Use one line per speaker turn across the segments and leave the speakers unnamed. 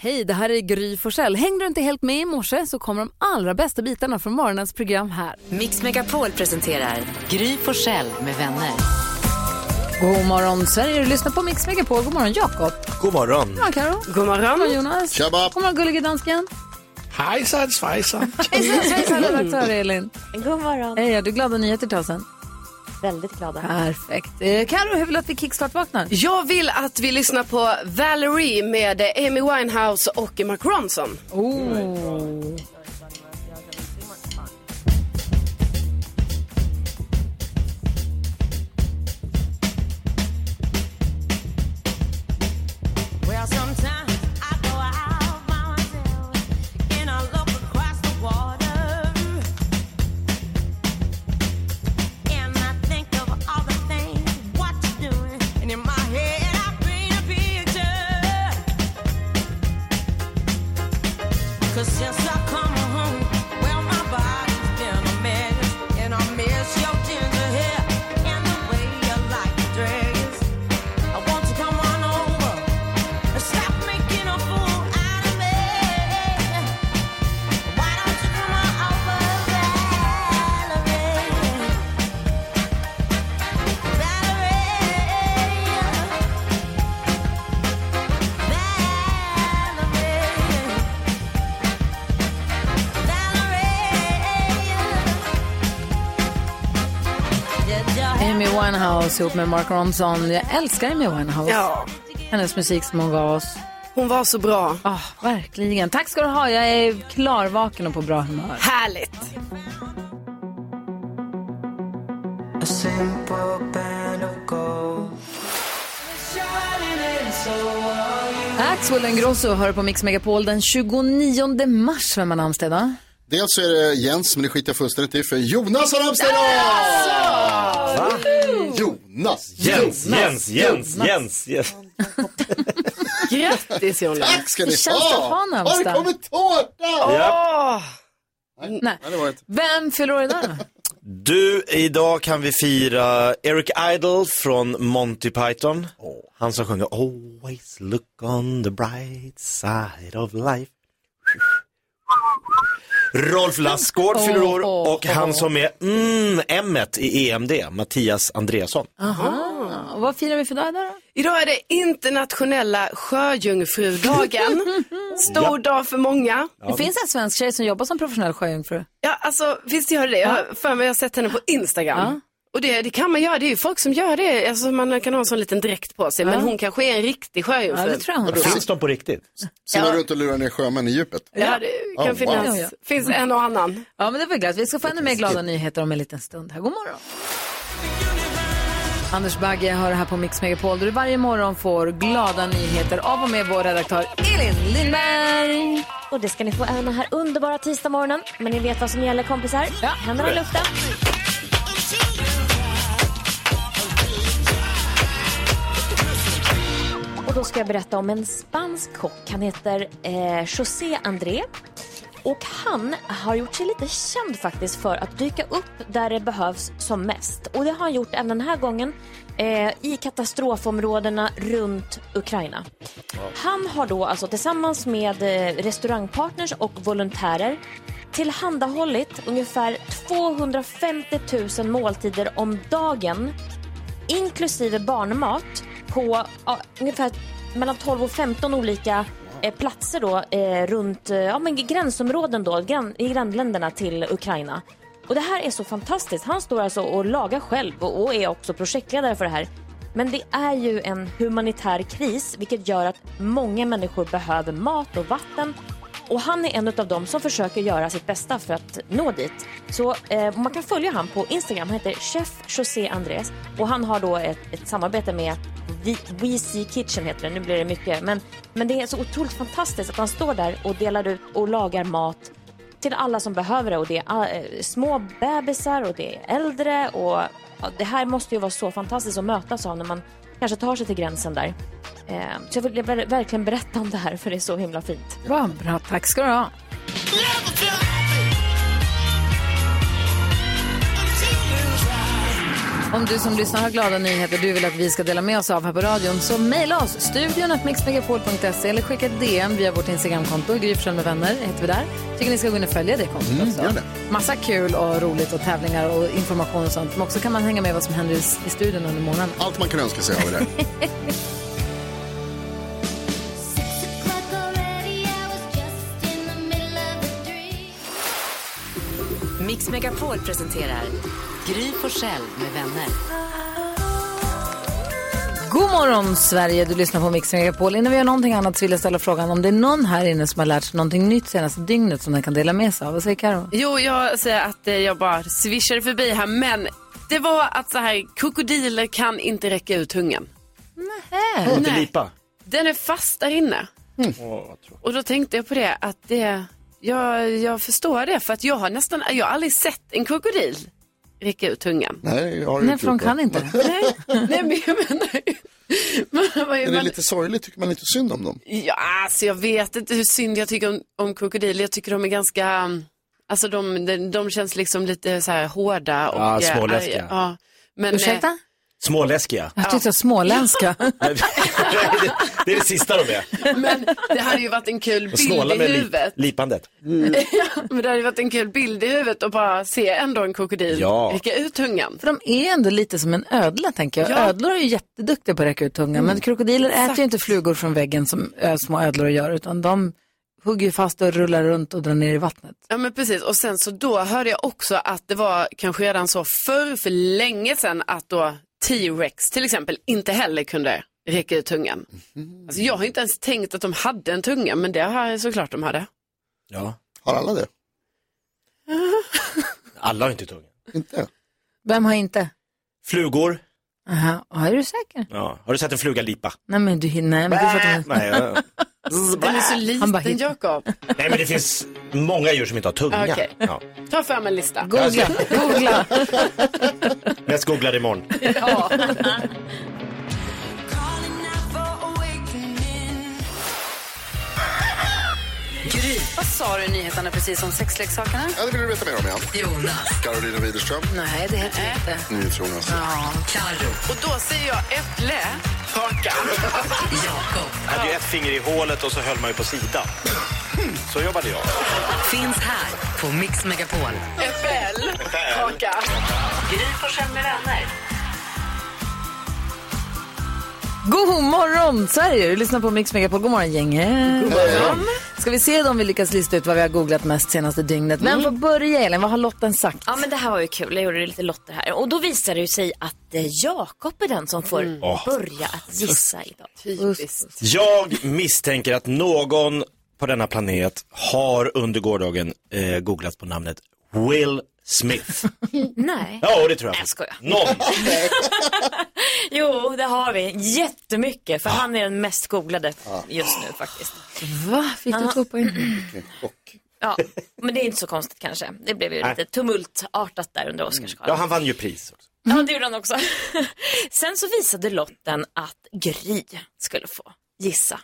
Hej, det här är Gry Forssell. Hängde du inte helt med i morse så kommer de allra bästa bitarna från morgonens program här.
Mix Megapol presenterar Gry Forssell med vänner.
God morgon Sverige, du lyssnar på Mix Megapol. God morgon Jakob.
God morgon.
God morgon Karo. God morgon. Jonas.
Tjaba.
God morgon gullige dansken.
Hejsan svejsan.
Hejsan hejsan redaktör Elin.
God morgon.
Hej, har du glada nyheter till oss än?
Väldigt glada.
Perfekt. Eh, Karo, hur vill du att vi kickstart-vaknar?
Jag vill att vi lyssnar på Valerie med Amy Winehouse och Mark Ronson.
Oh.
Well, sometimes I go out by myself and I look across the water and I think of all the things what you're doing, and in my head I paint a picture. 'Cause since I come home, well my body's been a mess, and I miss your ginger hair and the way you like to dress. I want you to come on over. Stop making a fool out of me. Why don't you come on over, Valerie?
Amy Winehouse ihop med Mark Ronson. Jag älskar Amy Winehouse.
Ja.
Hennes musik som hon gav oss.
Hon var så bra.
Ah, verkligen. Tack ska du ha. Jag är klarvaken och på bra humör.
Härligt.
Axel Ingrosso hör på Mix Megapol den 29 mars. Vem har namnsdag idag?
Dels så är det Jens, men det skiter jag fullständigt i för Jonas har namnsdag idag! Jonas!
Jens, Jens, Jens, Jens, Jens.
Grattis Jonas.
Tack ska ni
Känns det att ha namnsdag?
Har det kommit tårta?
Ja.
Nej.
Nej, det var det inte.
Vem fyller år idag då?
Du, idag kan vi fira Eric Idle från Monty Python. Han som sjunger Always look on the bright side of life. Rolf Lassgård fyller år och han som är mm, m i EMD, Mattias Andreasson.
Aha. Och vad firar vi för dag idag då?
Idag är det internationella sjöjungfrudagen. Stor dag för många.
Det finns en svensk tjej som jobbar som professionell sjöjungfru.
Ja, alltså visst gör det det. Jag har för mig jag har sett henne på Instagram. Och det, det kan man göra, det är ju folk som gör det. Alltså man kan ha en sån liten dräkt på sig. Men hon kanske är en riktig
Ja,
sjöjungfru.
det tror jag hon
Finns de på riktigt?
Simmar runt och lurar ner sjömän i djupet.
Ja, det kan
Oh, wow.
finnas.
Ja, ja.
Finns en och annan.
Ja, men det var glatt. Vi ska få ännu mer glada nyheter om en liten stund. Här, god morgon. Anders Bagge hör här på Mix Megapol där du varje morgon får glada nyheter av och med vår redaktör Elin Lindberg.
Och det ska ni få även den här underbara tisdagmorgonen. Men ni vet vad som gäller kompisar. Händerna i luften. Och då ska jag berätta om en spansk kock. Han heter eh, José André. Och han har gjort sig lite känd faktiskt för att dyka upp där det behövs som mest. Och det har han gjort även den här gången eh, i katastrofområdena runt Ukraina. Han har då alltså tillsammans med eh, restaurangpartners och volontärer tillhandahållit ungefär 250 000 måltider om dagen inklusive barnmat på ja, ungefär mellan 12 och 15 olika eh, platser då, eh, runt eh, ja, men gränsområden då, grann, i grannländerna till Ukraina. Och Det här är så fantastiskt. Han står alltså och lagar själv och, och är också projektledare för det här. Men det är ju en humanitär kris vilket gör att många människor behöver mat och vatten och han är en av dem som försöker göra sitt bästa för att nå dit. Så eh, man kan följa han på Instagram. Han heter Chef José Andrés och han har då ett, ett samarbete med V- VC Kitchen heter det. Nu blir det mycket. Men, men det är så otroligt fantastiskt att han står där och delar ut och lagar mat till alla som behöver det. Och det är eh, små bebisar och det är äldre. Och, ja, det här måste ju vara så fantastiskt att mötas av när man kanske tar sig till gränsen där. Eh, så jag vill ver- verkligen berätta om det här för det är så himla fint.
Bra, bra. Tack ska du ha. Om du som lyssnar har glada nyheter du vill att vi ska dela med oss av här på radion så mejla oss studion at mixmegapol.se eller skicka ett DM via vårt Instagramkonto, Gry Forssell med vänner heter vi där. Tycker ni ska gå in och följa det kontot
Mm,
också.
gör det.
Massa kul och roligt och tävlingar och information och sånt. Men också kan man hänga med vad som händer i, i studion under morgonen.
Allt man kan önska sig av det.
Mix Megapol presenterar Gry Forssell med vänner.
God morgon Sverige, du lyssnar på Mix Megapol. Innan vi gör någonting annat så vill jag ställa frågan om det är någon här inne som har lärt sig någonting nytt senaste dygnet som den kan dela med sig av. Vad säger Karo?
Jo, jag säger att eh, jag bara swishade förbi här, men det var att så här, krokodiler kan inte räcka ut tungan.
Låt det
Äh, Nej.
lipa.
Den är fast där inne. Och då tänkte jag på det, att det, jag, jag förstår det, för att jag har nästan, jag har aldrig sett en krokodil räcka ut tungan.
Nej, jag har
Nej,
inte
för de
gjort
kan
det.
inte det.
Nej, nej men jag menar ju- man, man,
Är det
man,
lite sorgligt? Tycker man inte synd om dem?
Ja, alltså jag vet inte hur synd jag tycker om, om krokodiler. Jag tycker de är ganska, um, alltså de, de, de känns liksom lite så här hårda och
Ja,
eh,
småläskiga.
arga. Ja, men, eh,
Ursäkta?
Småläskiga.
Jag tyckte jag småländska.
Nej, det, det är det sista de är.
Men det hade ju varit en kul
De
bild
snålar
i
med Mm. lip,
huvudet.
lipandet.
Men det hade ju varit en kul bild i huvudet att bara se ändå en krokodil
Ja.
rycka ut tungan.
För de är ändå lite som en ödla tänker jag.
Ja.
Ödlor är ju jätteduktiga på att räcka ut tungan. Men krokodiler äter ju inte flugor från väggen som ö, små ödlor gör. Utan de hugger ju fast och rullar runt och drar ner i vattnet.
Ja men precis och sen så då hörde jag också att det var kanske redan så förr för länge sedan att då T-Rex till exempel inte heller kunde räcka ut tungan.
Mhm.
Alltså, jag har inte ens tänkt att de hade en tunga men det har jag såklart de hade.
Ja.
Har alla det?
Alla har inte tunga.
Inte?
Vem har inte?
Flugor.
Aha, Ja, är du säker?
Ja. Har du sett en fluga lipa?
Nej men du hinner. Nej, Men du får inte...
Nej, ja.
Den är så
Han bara
liten
hittar.
Jakob.
Nej, men det finns många djur som inte har tunga.
Okej.
Ja.
Ta fram en lista.
Googla, googla.
Jag ska googla det imorgon.
Gry, vad sa du i nyheterna precis om sexleksakerna?
Ja, det vill du veta mer om igen.
Jonas.
Carolina Widerström,
Nej, det heter det inte.
NyhetsJonas.
Ja, Karo.
Och då säger jag äpple, kaka.
Jakob.
Jag hade ju ett finger i hålet och så höll man ju på sidan. Så jobbade jag.
Finns här på Mix Megapol.
Äppel, kaka.
Gry Forssell med vänner.
God morgon Sverige, du lyssnar på Mix Megapol. God morgon gänget. God morgon. Ska vi se om vi lyckas lista ut vad vi har googlat mest senaste dygnet. Vem får börja Elin? Vad har Lotten sagt?
Ja, men det här var ju kul. Jag gjorde lite lotter här. Och då visar det ju sig att eh, Jakob är den som får börja att gissa idag.
Typiskt.
Jag misstänker att någon på denna planet har under gårdagen eh, googlat på namnet Will Smith.
Nej.
Ja, det tror jag.
Nej, jag skojar.
Någon.
Jo, det har vi. Jättemycket. För han är den mest googlade just nu faktiskt.
Va? Fick du två poäng?
Ja, men det är inte så konstigt kanske. Det blev ju lite tumultartat där under Oscarsgalan.
Ja, han vann ju pris också.
Ja, det gjorde han också. Sen så visade lotten att Gry skulle få gissa.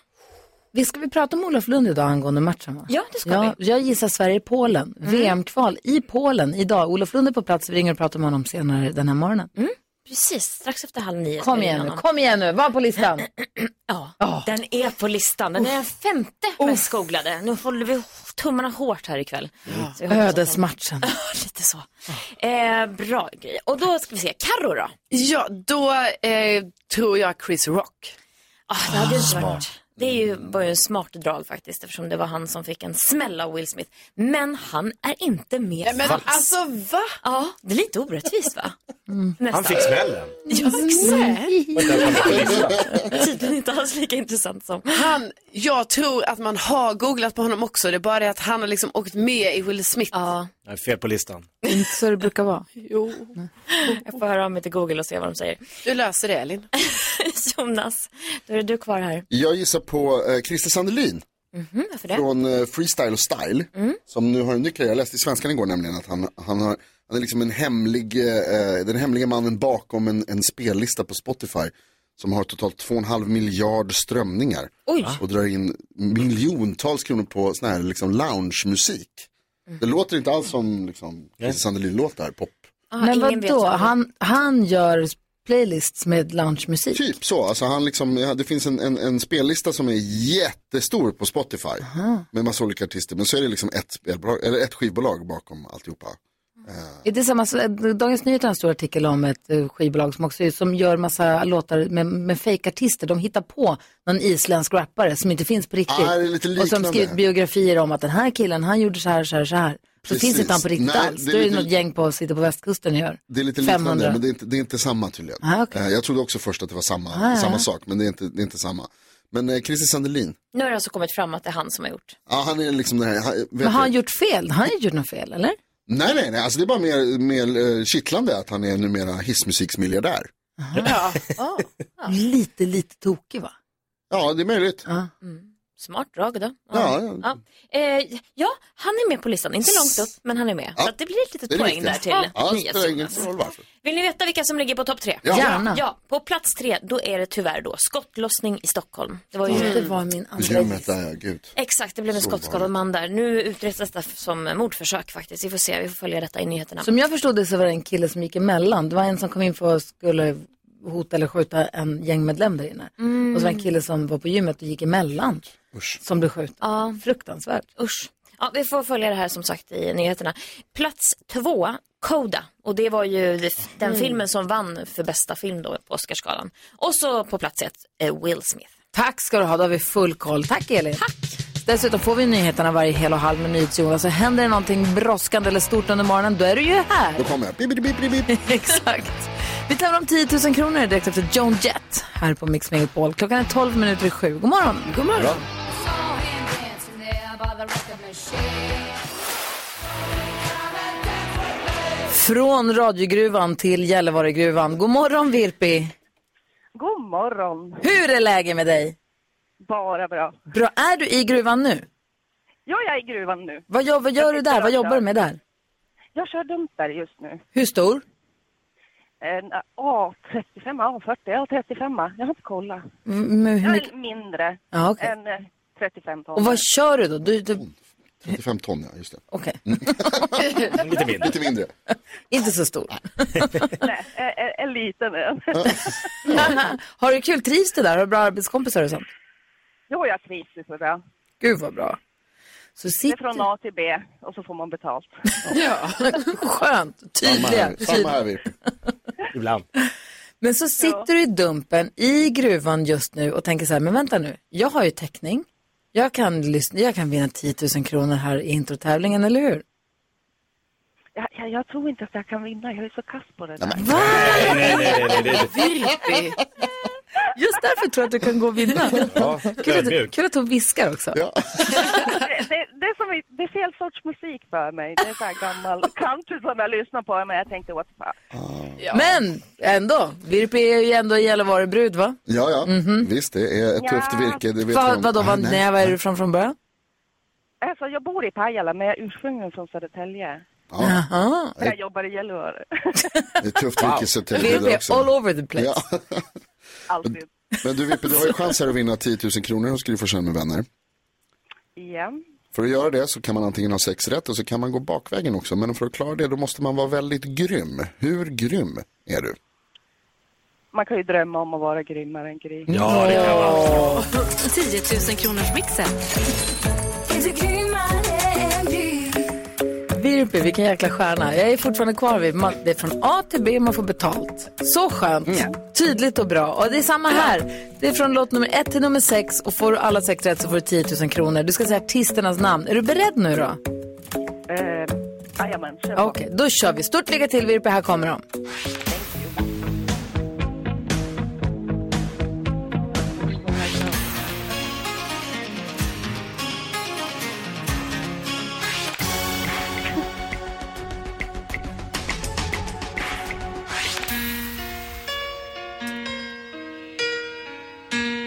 Vi ska vi prata om Olof Lund idag angående matchen? Va?
Ja, det ska Mm.
ja, Jag gissar Sverige-Polen. VM-kval i Polen idag. Olof Lund är på plats. Vi ringer och pratar med honom senare den här morgonen.
Mm. Precis, strax efter halv nio. ska
Kom
vi
igen nu,
honom.
kom igen nu. Var på listan.
Ja, den är på listan. Den är den femte mest googlade. Nu håller vi tummarna hårt här ikväll. Så vi hoppas att den-
Ödesmatchen.
Lite så. Eh, bra grej. Och då ska vi se, Carro då?
Ja, då eh, tror jag Chris Rock.
Ah, det hade inte varit. Det är ju, var ju en smart drag faktiskt eftersom det var han som fick en smäll av Will Smith. Men han är inte med
Men
alls.
alltså va?
Ja, det är lite orättvist va? Nästan.
Mm. Han fick smällen.
Ja, exakt.
Vänta,
Tydligen inte alls lika intressant som...
Han, jag tror att man har googlat på honom också. Det är bara det att han har liksom åkt med i Will Smith.
Ja,
Nej, fel på listan.
Inte så det brukar vara.
Jo.
jag får höra av mig till Google och se vad de säger.
Du löser det Elin.
Jonas, då är det du kvar här.
Jag gissar på eh, Christer Sandelin
Mm, varför det?
från eh, Freestyle och Style. Som nu har en ny karriär. Jag läste i Svenskan igår nämligen att han, han, har, han är liksom en hemlig, eh, den hemliga mannen bakom en, en spellista på Spotify. Som har totalt 2,5 miljard strömningar. Ah. Och drar in miljontals kronor på sån här liksom lounge-musik. Det låter inte alls som liksom, Christer Sandelin-låtar, pop.
Men
ingen vet
vadå,
vad det är.
han, han gör playlists med loungemusik?
Typ så, alltså han liksom, ja, det finns en, en, en spellista som är jättestor på Spotify med massa olika artister. Men så är det liksom ett, spelbolag, eller ett skivbolag bakom alltihopa.
Är det samma, eh, Dagens Nyheter har en stor artikel om ett eh, skivbolag som också som gör massa låtar med, med fejkartister. De hittar på någon isländsk rappare som inte finns på riktigt.
Ah, det är lite
och som
liknande.
skrivit biografier om att den här killen, han gjorde så här, så här, så här. Så
Precis.
finns inte han på riktigt
Nej,
alls.
det är
Då är det
lite-
något gäng på, sitter på västkusten och gör.
Det är lite
500.
liknande, men det är, inte, det är inte samma tydligen.
Ah, okej. Ah,
Eh, Jag trodde också först att det var samma,
ja.
samma sak, men det är inte, det är inte samma. Men eh, Christer Sandelin,
Nu har det alltså kommit fram att det är han som har gjort.
ja, han är liksom den här, han, vet
Men har han
du-
gjort fel? Han har ju gjort något fel, eller?
Nej, nej, nej, alltså det är bara mer, mer eh, kittlande att han är numera hissmusiksmiljardär.
Lite, lite tokig va?
Ja, det är möjligt.
Ja.
Smart drag då.
Ja, ja.
Ja. Eh, ja, han är med på listan. Inte långt upp, men han är med. Så att det blir ett litet
Det är
poäng där
viktigt.
till
Ja, det spelar ingen
NyhetsJonas.
roll varför.
Vill ni veta vilka som ligger på topp tre?
Ja.
Gärna.
Ja, på plats tre, då är det tyvärr då skottlossning i Stockholm. Det var ju
Mm. Det var min andra
Gömmet där, ja, gud.
Exakt, det blev en skottskadad man där. Nu utreds detta f- som mordförsök faktiskt. Vi får se, vi får följa detta i nyheterna.
Som jag förstod det så var det en kille som gick emellan. Det var en som kom in för att skulle hota eller skjuta en gängmedlem där inne. Och så var det en kille som var på gymmet och gick emellan. Som blev skjuten.
Ja.
Fruktansvärt.
Usch. Ja, vi får följa det här som sagt i nyheterna. Plats två, Coda. Och det var ju det- den filmen som vann för bästa film då på Oscarsgalan. Och så på plats ett, eh, Will Smith.
Tack ska du ha, då har vi full koll. Tack Elin. Tack. Dessutom får vi nyheterna varje hel och halv med NyhetsJonas. Så händer det någonting brådskande eller stort under morgonen, då är du ju här.
Då kommer jag. Bip, bip, bip, bip.
Exakt. Vi tävlar om 10 000 kronor direkt efter Joan Jett här på Mix Megapol. Klockan är 12 minuter i sju. God morgon. God morgon. Från radiogruvan till Gällivaregruvan. God morgon Virpi.
God morgon.
Hur är läget med dig?
Bara bra.
Bra. Är du i gruvan nu?
Ja, jag är i gruvan nu.
Vad, gör- vad gör du där? Vad jobbar du med där?
Jag kör dumper just nu.
Hur stor?
En ah, A35, A40, A35. Jag har inte kollat.
Mm, hur
Jag
mycket?
är mindre
Ja, okej.
än eh, 35 ton.
Och vad kör du då? Du, du...
35 ton, ja, just det. Mm.
Okej,
Lite mindre.
Lite mindre.
inte så stor.
Nej, en- en- en liten ön.
Har du kul? Trivs du där? Har du bra arbetskompisar och sånt?
Jo, jag trivs så bra.
Gud vad bra. Så
Det
sitter...
är från A till B och så får man betalt.
Skönt,
Samma
tydliga.
här, samma
tydliga.
här Virpi.
Ibland.
Men så sitter du i dumpen i gruvan just nu och tänker så här, men vänta nu, jag har ju täckning. Jag kan, lyssna, jag kan vinna 10 000 kronor här i introtävlingen, eller hur?
Jag, jag, jag tror inte att jag kan vinna. Jag är så kass på det där.
Nej, nej, nej, nej, nej.
Virpi.
Just därför tror jag att du kan gå och vinna.
Ja,
Kul att,
ödmjuk.
kul att hon viskar också.
Det, det, det, är som, i- det är fel sorts musik för mig. Det är så här gammal country som jag lyssnar på, men jag tänkte what the fuck.
Men ändå, Virpi är ju ändå Gällivarebrud va?
Ja, ja. Visst, det är ett tufft virke. Det vet
Mhm. Vad,
man.
vadå,
Ah,
vad,
nej.
nej, var är du från från början?
Alltså, jag bor i Pajala, men jag är ursprungligen från Södertälje.
Ja,
Aha.
Men Jag jobbar i Gällivare.
det är ett tufft virke i Södertälje
Virpi
det
är all
också.
over the place.
Ja.
Alltid.
Men du Virpi, du har ju chans här att vinna 10 000 kronor hos Gry Forssell med vänner.
Igen.
För att göra det så kan man antingen ha sex rätt och så kan man gå bakvägen också. Men för att klara det då måste man vara väldigt grym. Hur grym är du?
Man kan ju drömma om att vara grymmare än Gry.
Ja, det kan vara.
10 000 kronors mixen.
Virpi, vilken jäkla stjärna. Jag är fortfarande kvar vid man, det är från A till B man får betalt. Så skönt, tydligt och bra. Och det är samma här. Det är från låt nummer ett till nummer sex och får du alla sex rätt så får du 10 000 kronor. Du ska säga artisternas namn. Är du beredd nu då?
Eh, Jajamän, kör på.
Okej, då kör vi. Stort lycka till Virpi, här kommer de.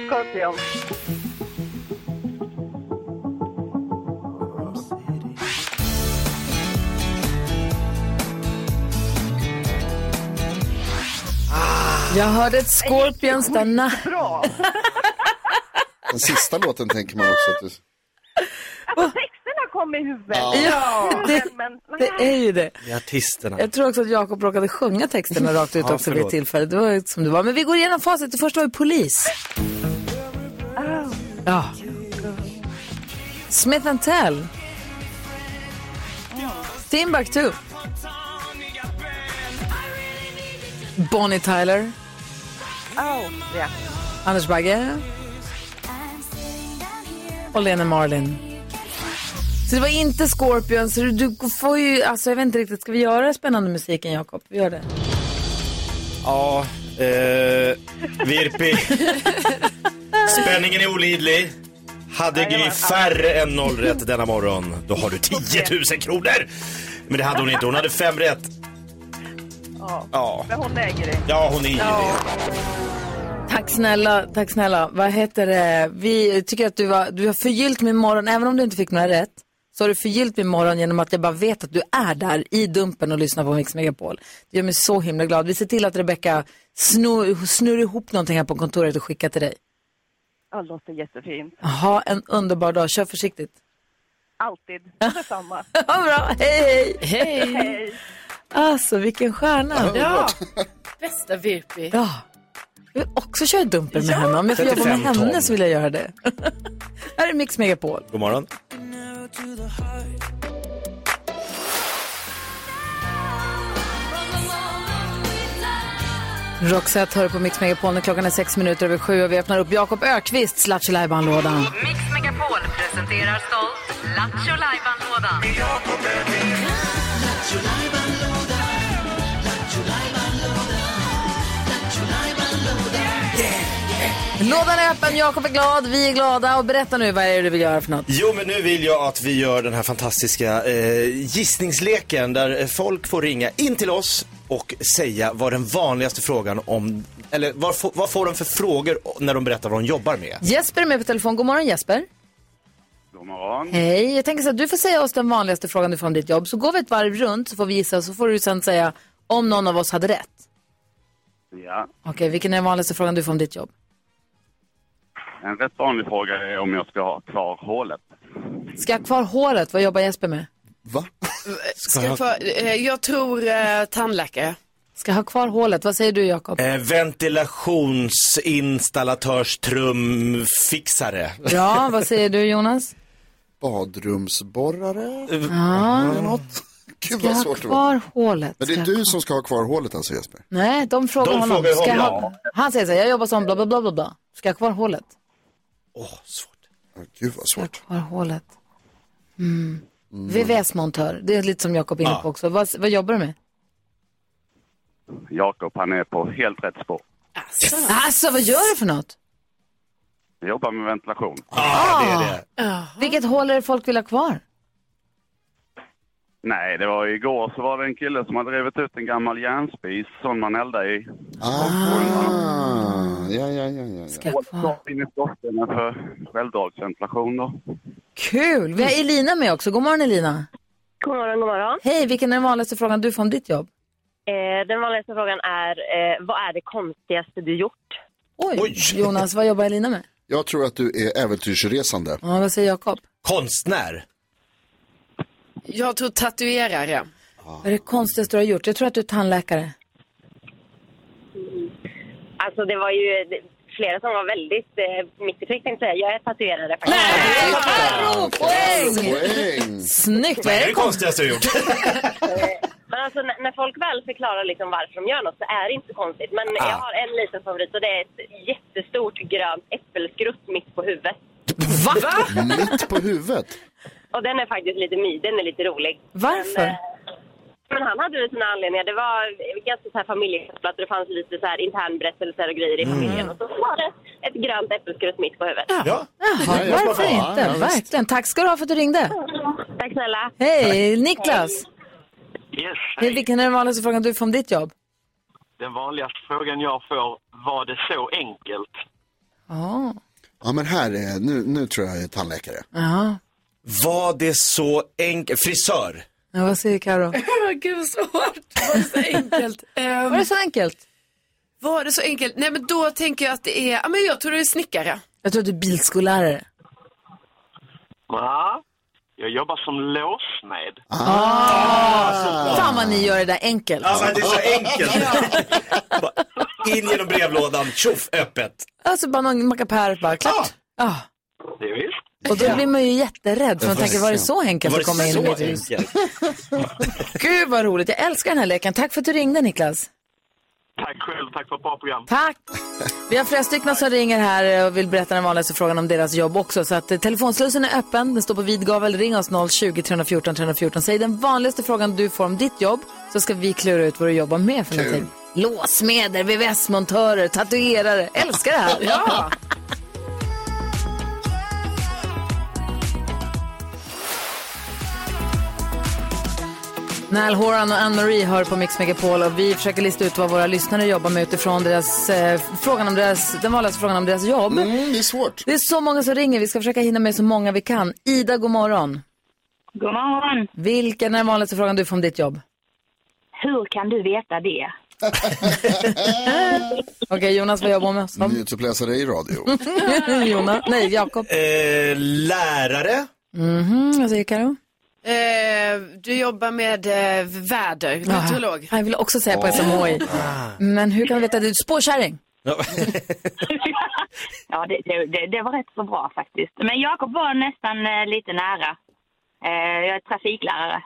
Scorpion. Ah.
Jag hörde ett Scorpion stanna.
Bra!
Den sista låten tänker man också att du...
Alltså texterna kom i huvudet.
Ja.
Ja, det,
Men,
det är ju det.
Det är artisterna.
Jag tror också att Jakob råkade sjunga texterna rakt ut
Ja,
också vid
förlåt.
ett tillfälle. Det var ju som det var. Men vi går igenom facit. Det första var ju polis. Ja. Smith Tell. Timbuktu. Bonnie Tyler.
oh, ja.
Anders Bagge. Och Lena Marlin. Så det var inte Scorpions. så Du, du får ju, alltså jag vet inte riktigt, ska vi göra spännande musiken Jakob? Vi gör det.
Ja, eh, Virpi. Spänningen är olidlig. Hade Gry färre än noll rätt denna morgon, då har du 10 000 kronor. Men det hade hon inte, hon hade fem rätt.
Ja.
Ja,
Men hon äger det.
ja hon är ju det.
Tack snälla, tack snälla. Vad heter det? Vi tycker att du, var, du har förgyllt min morgon, även om du inte fick några rätt. Så har du förgyllt min morgon genom att jag bara vet att du är där i Dumpen och lyssnar på Mix Megapol. Det gör mig så himla glad. Vi ser till att Rebecca snor, snor ihop någonting här på kontoret och skickar till dig.
Ja, det låter jättefint.
Ha en underbar dag, kör försiktigt.
Alltid. Detsamma.
Ha bra, hej hej!
Hej!
Hej.
Alltså vilken stjärna.
Ja, bästa Virpi.
Ja. Jag vill också köra Dumpen med henne. Om jag får jobba med
35
henne
ton.
så vill jag göra det. här är Mix Megapol.
God morgon.
Roxette hör på Mix Megapol när klockan är sex minuter över sju och vi öppnar upp Jakob Ökvists Lattjo Lajban-lådan.
Mix Megapol presenterar stolt Lattjo Lajban-lådan.
Lådan är öppen, Jakob är glad, vi är glada och berätta nu vad är det du vill göra för något?
Jo, men nu vill jag att vi gör den här fantastiska eh, gissningsleken där eh, folk får ringa in till oss och säga vad den vanligaste frågan om, eller vad, få- vad får de för frågor när de berättar vad de jobbar med?
Jesper är med på telefon, god morgon Jesper.
God morgon.
Hej, jag tänker så att du får säga oss den vanligaste frågan du får om ditt jobb så går vi ett varv runt så får vi gissa så får du sen säga om någon av oss hade rätt.
Ja,
Okej, vilken är den vanligaste frågan du får om ditt jobb?
en rätt vanlig fråga är om jag ska ha kvar hålet.
Ska jag ha kvar håret? Vad jobbar Jesper med?
Va?
Ska jag, få, eh, jag tror eh, tandläkare.
Ska jag ha kvar hålet? Vad säger du Jakob?
Eh, ventilationsinstallatörs-trumfixare.
Bra, vad säger du Jonas?
Badrumsborrare?
Ja,
Eller något? Gud
ska
vad
jag ha
svårt det var.
kvar hålet?
Men det
Ska
är
jag
du som ska ha kvar hålet alltså Jesper?
Nej, de frågar
De
honom.
frågar
Ska jag
honom.
ha... Han säger så här, jag jobbar som bla bla bla bla bla. Ska jag ha kvar hålet?
Åh, svårt.
Ja, Gud vad
Jag har
svårt.
kvar hålet. Mm. VVS-montör, det är lite som Jakob är inne på också. Vad, vad jobbar du med?
Mm. Jakob, han är på helt rätt spår.
Alltså, vad gör du för något?
Jag jobbar med ventilation.
Ja, det är det.
Vilket hål är det folk vill ha kvar?
Nej, det var igår så var det en kille som hade rivit ut en gammal järnspis, sån man eldar i.
Ah, ja, ja, ja, ja. ja.
Ska jag ha kvar?
In i skorstenen för självdragsventilation då.
Kul! Vi har Elina med också. God morgon Elina.
God morgon, god morgon.
Hej, vilken är den vanligaste frågan du får om ditt jobb?
Eh, den vanligaste frågan är, eh, vad är det konstigaste du gjort?
Oj,
Oj.
Jonas, vad jobbar Elina med?
Jag tror att du är äventyrsresande.
Ja, vad säger Jakob?
Konstnär.
Jag tror tatuerare.
Vad är det konstigaste du har gjort? Jag tror att du är tandläkare.
Alltså det var ju eh, flera som var väldigt eh, mitt i prick tänkte jag säga. Jag är tatuerare faktiskt.
Poäng!
Poäng!
Snyggt! Vad
Det
är
är
det
det
konstigaste?
konstigaste jag gjort.
Men alltså när, när folk väl förklarar liksom varför de gör något så är det inte så konstigt. Men jag har en liten favorit och det är ett jättestort grönt äppelskrutt mitt på huvudet.
Mitt på huvudet.
Och den är faktiskt lite my, den är lite rolig. eh,
Varför?
Men han hade väl sina anledningar. Det var ganska så här familjekopplat och det fanns lite så här internberättelser och grejer i
Mm.
familjen. Och så var det ett grönt äppelskrutt mitt på huvudet.
Ja.
Jaha,
jag
varför
bara-
inte?
ja, visst.
Verkligen. Tack ska du ha för att du ringde.
Tack snälla.
Hej, Niklas.
Yes,
Hej. Vilken är den vanligaste frågan du får om ditt jobb?
den vanligaste frågan jag får, var det så enkelt?
Ja.
Ja, men här är, nu, nu tror jag jag är tandläkare.
Ja.
Var det så enkelt? Frisör.
Ja, vad säger Karo?
Oh, Gud vad svårt. Var det så enkelt? Ehm,
Var det så enkelt?
var det så enkelt? Nej men då tänker jag att det är, ja men jag tror det är snickare.
Jag tror att du är bilskollärare.
Ja, Jag jobbar som låsmed.
Ah.
Fan vad ni gör det där enkelt.
Ah, Ja, men det är så enkelt. Bara In genom brevlådan, tjoff, öppet.
Alltså bara någon mackapär, bara klart. Ja.
Det är visst.
Och då blir man ju jätterädd för man tänker, var det så enkelt
Var
att
det
komma in i
så
mitt hus?
enkelt?
Gud vad roligt, jag älskar den här leken. Tack för att du ringde Niklas.
Tack själv, tack för ett bra program.
Tack! Vi har flera stycken som ringer här och vill berätta den vanligaste frågan om deras jobb också. Så att eh, telefonslussen är öppen, den står på vid gavel. Ring oss 020-314 314. Säg den vanligaste frågan du får om ditt jobb så ska vi klura ut vad du jobbar med för
Kul.
någonting. Låsmeder, VVS-montörer, tatuerare. Älskar det här!
Ja.
Nal Horan och Ann-Marie hör på Mix Megapol och vi försöker lista ut vad våra lyssnare jobbar med utifrån deras, eh, frågan om deras, den vanligaste frågan om deras jobb.
Mm, det är svårt.
Det är så många som ringer, vi ska försöka hinna med så många vi kan. Ida, god morgon.
God morgon.
Vilken är den vanligaste frågan du får om ditt jobb?
Hur kan du veta det?
Okej, Jonas, vad jobbar du med?
Mm. Nyhetsuppläsare i radio.
Jonas? Nej, Jakob.
Eh, lärare?
Mhm, vad säger Karo?
Eh, du jobbar med eh, väder, meteorolog.
Jag vill också säga på SMHI.
Ah.
Men hur kan vi veta det? Spårkärring?
Ja, det, det, det, det var rätt så bra faktiskt. Men Jakob var nästan eh, lite nära. Eh, jag är trafiklärare.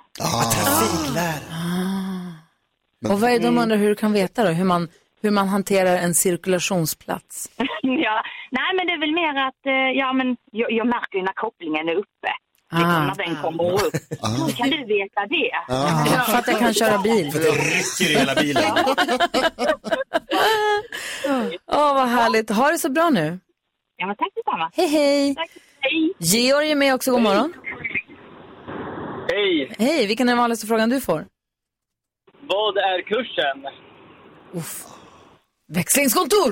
Ah, Och vad är det de undrar hur du kan veta då? Hur man, hur man hanterar en cirkulationsplats?
ja, nej, men det är väl mer att eh, ja, men jag, jag märker ju när kopplingen är uppe.
Ah.
Liksom när den kommer upp. Hur kan du veta det?
Ah. För att jag kan köra bil.
För att det rycker i hela bilen.
Åh, vad härligt. Ha det så bra nu.
Ja, men tack detsamma.
Hej, hej. Georg är med också. God morgon.
Hej!
Hej, vilken är den vanligaste frågan du får?
Vad är kursen?
Växlingskontor!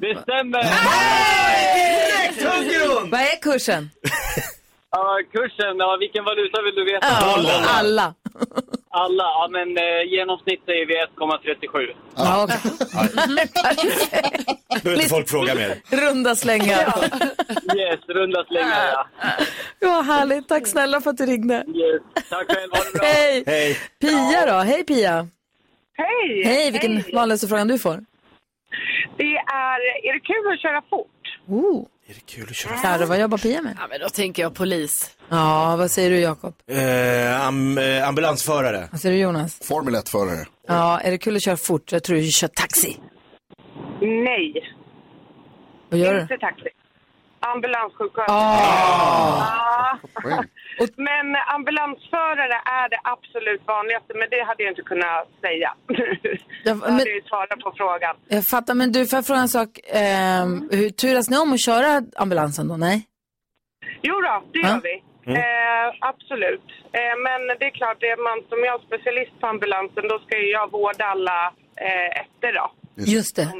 Det stämmer!
Vad är kursen?
Ja, kursen, ja, vilken valuta vill du veta?
Alla.
Alla, ja men eh, genomsnitt säger vi 1,37.
Ja, okej.
Behöver inte folk fråga mer.
Runda slängar.
Yes, runda slängar ja.
Ja, härligt. Tack snälla för att du ringde.
Tack själv, ha det bra!
Hej!
Hej!
Pia då? Hej Pia!
Hej!
Hej, vilken vanligaste frågan du får?
Det är, är det kul att köra fort?
Oh. Är det
kul
att köra Karo, vad jobbar Pia med?
Ja, men då tänker jag polis.
Ja, vad säger du Jakob?
Eh, am, eh, ambulansförare.
Vad säger du Jonas?
Formel 1-förare.
Ja, är det kul att köra fort? Jag tror du kör taxi.
Nej.
Vad gör du?
Inte taxi. Ambulanssjuksköterska.
Ah.
Ah. Men ambulansförare är det absolut vanligaste, men det hade jag inte kunnat säga. Jag hade ju svarat på frågan.
Jag fattar, men du, får jag fråga en sak? Ehm, hur turas ni om att köra ambulansen då? Nej?
Jo då, det gör vi. Eh, absolut. Eh, men det är klart, det är man, som jag är specialist på ambulansen, då ska ju jag vårda alla eh, efter då.
Just det. Eh.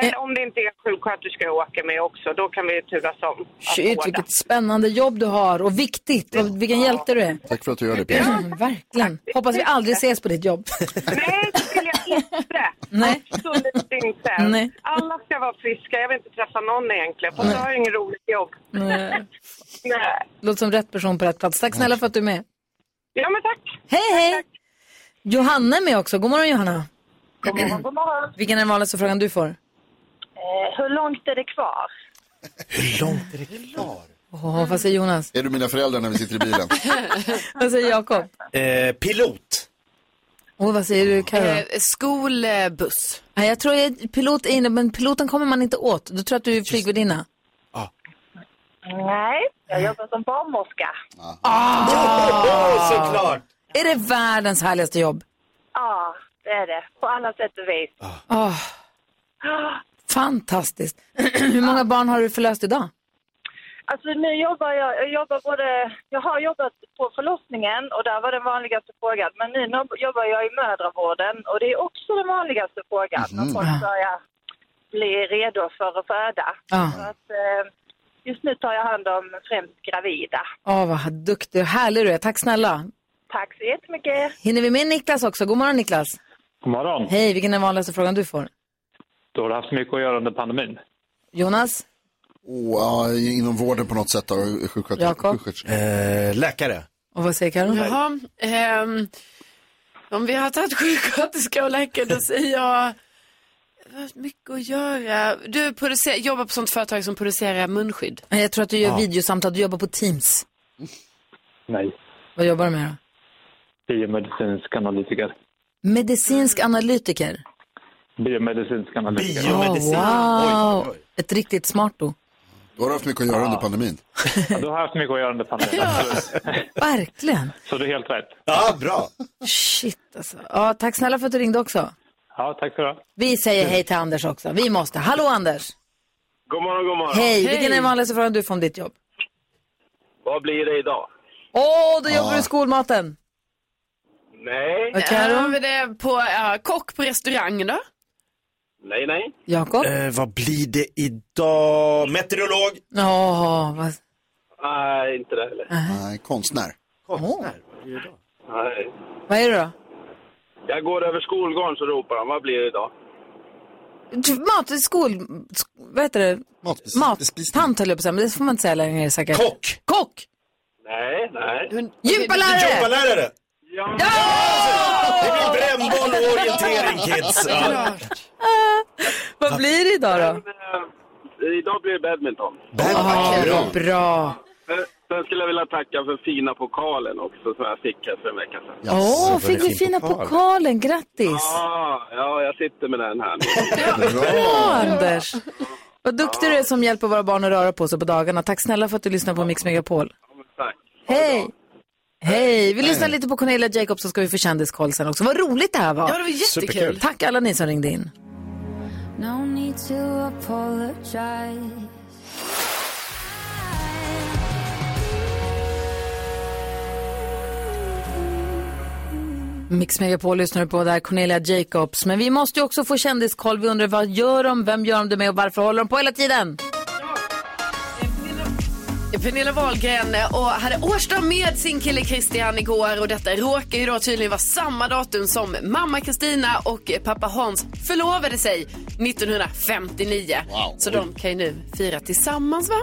Eller om det inte är sjuksköterska jag åker med också, då kan vi turas om. att
Shit,
vårda.
vilket spännande jobb du har och viktigt. Och vilken hjälte du är.
Tack för att du gör det, Pia.
Verkligen. Hoppas vi aldrig ses på ditt jobb.
Nej. Absolut inte.
Nej.
Alla ska vara friska. Jag vill inte träffa någon egentligen, för jag har ju inget roligt jobb.
Nej.
Nej.
Låter som rätt person på rätt plats. Tack snälla för att du är med.
Ja, men tack.
Hej, hej! Johanna är med också. God morgon Johanna.
God morgon, god morgon.
Vilken är den vanligaste frågan du får?
Eh, hur långt är det kvar?
Åh, vad säger Jonas?
Är du mina föräldrar när vi sitter i bilen?
Vad säger Jakob?
Eh, pilot.
Och vad säger du Carro?
Eh, skolbuss.
Nej, jag tror att pilot är inne, men piloten kommer man inte åt. Då tror jag att du är flygvärdinna.
Nej, jag jobbar som barnmorska.
Ah!
Såklart!
Är det världens härligaste jobb?
Ja, det är det. På alla sätt och vis.
Ah, fantastiskt. Hur många barn har du förlöst idag?
Alltså nu jobbar jag, jag jobbar både, jag har jobbat på förlossningen och där var den vanligaste frågan. Men nu no- jobbar jag i mödravården och det är också den vanligaste frågan. När
Mhm.
folk börjar bli redo för att föda.
Ja.
Så att, eh, just nu tar jag hand om främst gravida.
Åh, vad duktig och härlig du är. Tack snälla.
Tack så jättemycket.
Hinner vi med Niklas också? God morgon Niklas.
God morgon.
Hej, vilken är den vanligaste frågan du får?
Då har du haft mycket att göra under pandemin.
Jonas?
Och, ja, inom vården på något sätt då, sjuksköterska? sjuksköterska.
Eh, läkare.
Och vad säger Karin?
Jaha, ehm, om vi har tagit sjuksköterska och läkare då säger jag, jag har mycket att göra. Du producerar, jobbar på sånt företag som producerar munskydd.
Nej, Jag tror att du gör
Ja.
videosamtal, du jobbar på Teams.
Nej,
Vad jobbar du med då?
biomedicinsk analytiker.
Medicinsk analytiker.
Biomedicinsk analytiker.
Oh, wow, ett riktigt smart då.
Då har du haft mycket att göra under pandemin.
Ja, du har haft mycket att göra under pandemin.
Verkligen.
Så du är helt rätt.
Ja, bra.
Shit alltså. Ja, tack snälla för att du ringde också.
Ja, tack så du ha.
Vi säger hej till Anders också. Vi måste. Hallå Anders!
God morgon, god morgon.
Hej! Vilken är den vanligaste frågan du får om ditt jobb?
Vad blir det idag?
Åh, då jobbar du i skolmaten.
Nej.
Vad kan
Ja,
du?
men det är på ja, kock på restaurang då?
Nej, nej.
Jakob?
Eh, vad blir det idag? Meteorolog?
Ja, vad...
Nej, inte det heller.
Nej, konstnär.
Konstnär?
Nej.
Vad är det då?
Jag går över skolgården så ropar de, vad blir det idag?
Du, Typ Mat, skol... sk- Vad heter det? Mattant höll jag på att säga, men det får man inte säga längre säkert.
Kock!
Kock!
Nej, nej.
Gympalärare!
Gympalärare! Det blir brännboll och orientering kids. Ja.
Vad blir det idag då?
Idag blir det badminton.
Ah,
bra.
bra.
Eh, Sen skulle jag vilja tacka för fina pokalen också som jag fick här för en vecka sedan.
Åh, fick du fina pokalen? Grattis!
Ja, ja, jag sitter med den här nu.
Bra, Anders! Vad duktig du är som hjälper våra barn att röra på sig på dagarna. Tack snälla för att du lyssnar på Mix Megapol.
Tack.
Hej! Hej! Vi lyssnar lite på Cornelia Jacobs så ska vi få kändiskoll sen också. Vad roligt det här var!
Ja, det var jättekul. Superkul.
Tack alla ni som ringde in.
No need to apologize.
Mix Megapol lyssnar du på där, Cornelia Jacobs. Men vi måste ju också få kändiskoll. Vi undrar vad gör de, vem gör de det med och varför håller de på hela tiden?
Pernilla Wahlgren eh, och hade årsdag med sin kille Christian igår och detta råkar ju då tydligen vara samma datum som mamma Kristina och pappa Hans förlovade sig 1959. Så de kan ju nu fira tillsammans va?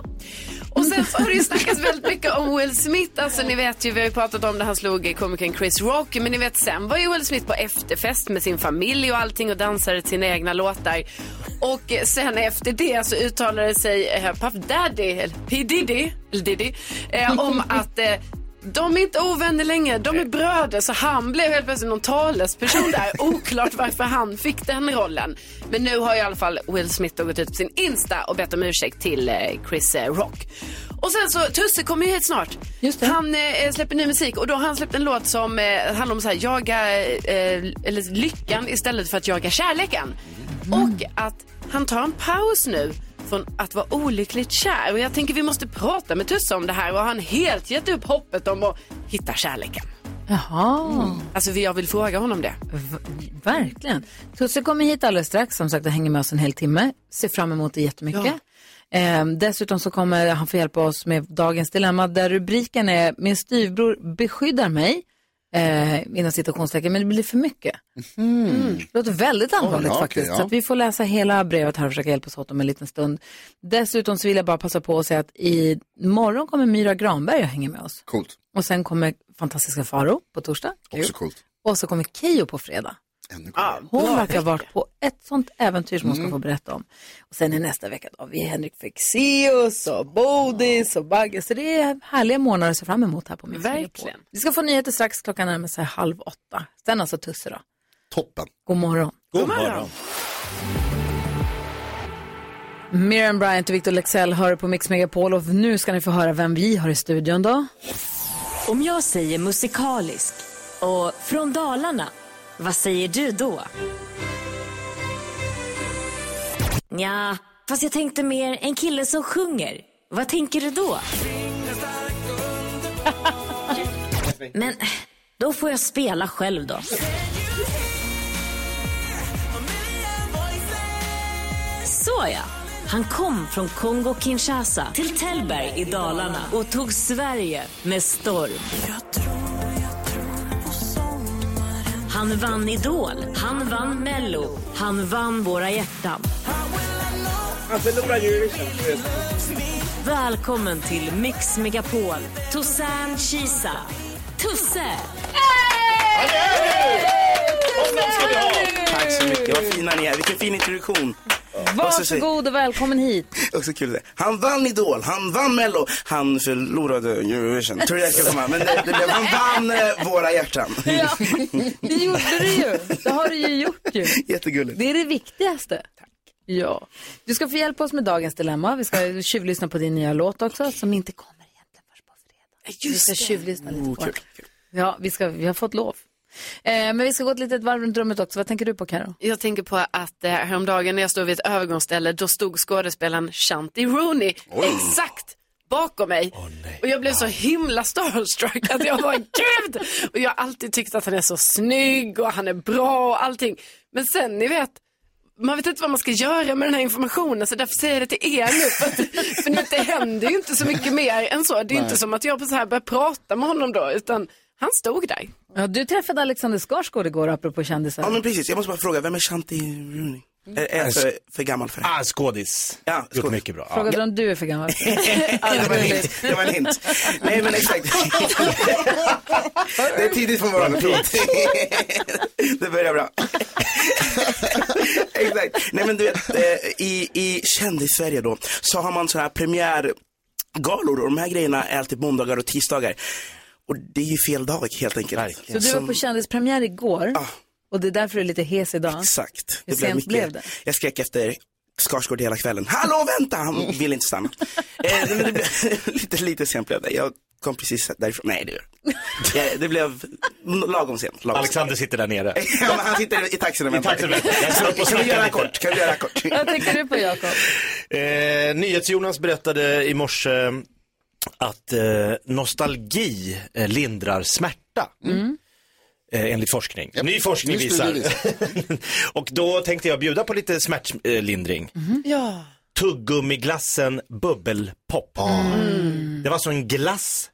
Och sen så har Alltså, det ju snackats väldigt mycket om Will Smith. Alltså ni vet ju, vi har ju pratat om när han slog komikern Chris Rock. Men ni vet sen var ju Will Smith på efterfest med sin familj och allting och dansade sina egna låtar. Och eh, sen efter det så uttalade sig eh, Puff Daddy, eller P Diddy, eller Diddy eh, om att eh, de är inte ovänner längre, de är bröder. Så han blev helt plötsligt någon talesperson där. Oklart varför han fick den rollen. Men nu har i alla fall Will Smith då gått ut på sin Insta och bett om ursäkt till eh, Chris eh, Rock. Och sen så, Tusse kommer ju hit snart. Han eh, släpper ny musik och då har han släppt en låt som eh, handlar om så här, jaga eh, eller lyckan istället för att jaga kärleken. Och att han tar en paus nu från att vara olyckligt kär. Och jag tänker vi måste prata med Tusse om det här och han helt gett upp hoppet om att hitta kärleken.
Jaha.
Alltså jag vill fråga honom det.
V- verkligen. Tusse kommer hit alldeles strax, som sagt, och hänger med oss en hel timme. Ser fram emot det jättemycket. Ehm, dessutom så kommer han få hjälpa oss med dagens dilemma, där rubriken är Min styvbror beskyddar mig, eh, inom citationstecken, men det blir för mycket. Mm. Det låter väldigt allvarligt
ja, okej,
faktiskt.
ja.
Så att vi får läsa hela brevet här och försöka hjälpas åt om en liten stund. Dessutom så vill jag bara passa på att säga att i morgon kommer Myra Granberg och hänger med oss.
Coolt.
Och sen kommer fantastiska Faro på torsdag.
Också coolt.
Och så kommer Keyyo på fredag.
Ah,
Hon verkar ha varit på ett sånt äventyr som hon ska få berätta om. Och sen är nästa vecka då har vi Henrik Fexeus och Bodis och Bagge. Så det är härliga månader att se fram emot här på Mix Verkligen. Vi ska få nyheter strax, klockan närmar sig halv åtta. Sen alltså Tusse då.
Toppen.
God morgon.
God morgon.
Miriam Bryant och Victor Lexell hör på Mix Megapol och nu ska ni få höra vem vi har i studion då.
Om jag säger musikalisk och från Dalarna, vad säger du då? Ja, fast jag tänkte mer en kille som sjunger. Vad tänker du då? Men då får jag spela själv då. Såja! Han kom från Kongo-Kinshasa till Tällberg i Dalarna och tog Sverige med storm. Han vann Idol, han vann Mello, han vann våra hjärtan.
Han förlorar ju liksom.
Välkommen till Mix Megapol. Tosan Kisa. Tusse!
Tack så mycket, vad fina ni är. Vilken fin introduktion. Och så säger-
Varsågod och välkommen hit.
Och så kul det. Han vann Idol, han vann Mello, han förlorade Eurovision. Tror jag ska komma. Men det, det, blev- han vann eh, våra hjärtan.
Ja, det gjorde du ju. Det har du ju gjort ju.
Jättegulligt.
Det är det viktigaste. Ja. Du ska få hjälpa oss med dagens dilemma. Vi ska tjuvlyssna på din nya låt också, som inte kommer egentligen först på fredag. vi ska tjuvlyssna
Oh,
lite på den. Ja, vi, ska, vi har fått lov. Eh, men vi ska gå ett litet varv runt rummet också. Vad tänker du på, Karo?
Jag tänker på att eh, häromdagen när jag stod vid ett övergångsställe, då stod skådespelaren Shanti Rooney
Oj.
exakt bakom mig. och jag blev så himla starstruck att jag var gud! Och jag har alltid tyckt att han är så snygg och han är bra och allting. Men sen, ni vet, man vet inte vad man ska göra med den här informationen så därför säger jag det till er nu. För, att, för nu, det händer ju inte så mycket mer än så. Det är ju
Nej.
inte som att jag så här börjar prata med honom då, utan han stod där.
Ja, du träffade Alexander Skarsgård igår, apropå kändisar.
Ja men precis, jag måste bara fråga, vem är Shanti Rooney? Är, är jag för, för gammal för det? Mm. Ah, skådis. Ja, skådis. Gjort mycket bra.
Frågade du om du är för gammal?
det var en hint. Det var en hint. Nej men exakt. Det är tidigt på morgonen, förlåt. Det börjar bra. Exakt. Nej men du vet, eh, i, i kändis-Sverige då, så har man sådana här premiärgalor och de här grejerna är alltid måndagar och tisdagar. Och det är ju fel dag helt enkelt.
Så du var på kändispremiär igår
Ah.
och det är därför du är lite hes idag.
Exakt.
Hur sent blev det?
Jag skrek efter Skarsgård hela kvällen. Hallå vänta! Han vill inte stanna. eh, men det blev, lite, lite sent blev det. Jag kom precis därifrån. Nej, det, jag, Eh, det blev lagom sent. Lagom Alexander sitter där nere. ja, men han sitter i taxin och väntar.
taxin och väntar. Jag ska upp och
kan vi
snacka
göra
lite.
kort? Kan vi göra kort?
Vad tänker du på, Jakob?
Eh, NyhetsJonas berättade i morse att eh, nostalgi eh, lindrar smärta.
Mm.
Eh, enligt forskning. Ny forskning
ny studie
visar. och då tänkte jag bjuda på lite smärtlindring.
Ja.
Tuggummiglassen bubbelpop. Det var alltså en glass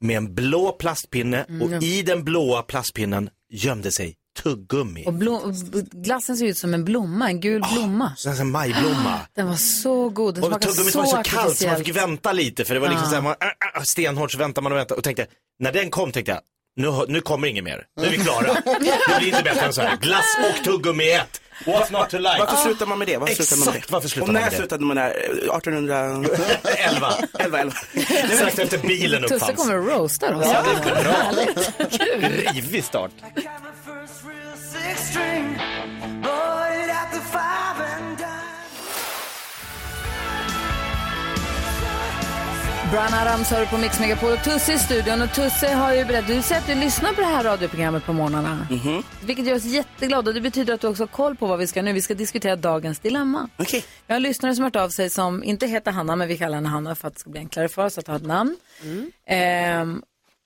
med en blå plastpinne och i den blåa plastpinnen gömde sig tuggummi.
Och blom, b- glassen ser ut som en blomma, en gul blomma.
Ah,
Ah,
Så en majblomma.
Den var så god, den
Och
smakade
tuggummit
så
var så kallt så man
artificiellt.
fick vänta lite för det var liksom
Ja.
så här, man, äh, äh, stenhårt så väntar man och väntar och tänkte, när den kom tänkte jag, nu, hör- nu kommer ingen mer, nu är vi klara. Det blir inte bättre än så här, glass och tuggummi i ett. What's not to like?
Varför slutar man med det? Varför slutar man med det?
Exakt, varför slutar
och
man
när
med det?
slutade man där? 1800...
11.
11, 11.
Strax efter bilen
Tusse
uppfanns.
kommer och roastar oss.
Ja, det är bra. Rivig start.
Brian Adams hör på Mix Megapol och Tusse i studion. Och Tusse har ju berättat, du säger att du lyssnar på det här radioprogrammet på morgnarna. Vilket gör oss jätteglada och det betyder att du också har koll på vad vi ska nu. Vi ska diskutera dagens dilemma.
Okay.
Jag har en lyssnare som har hört av sig som inte heter Hanna men vi kallar henne Hanna för att det ska bli enklare för oss att ha ett namn. Ehm,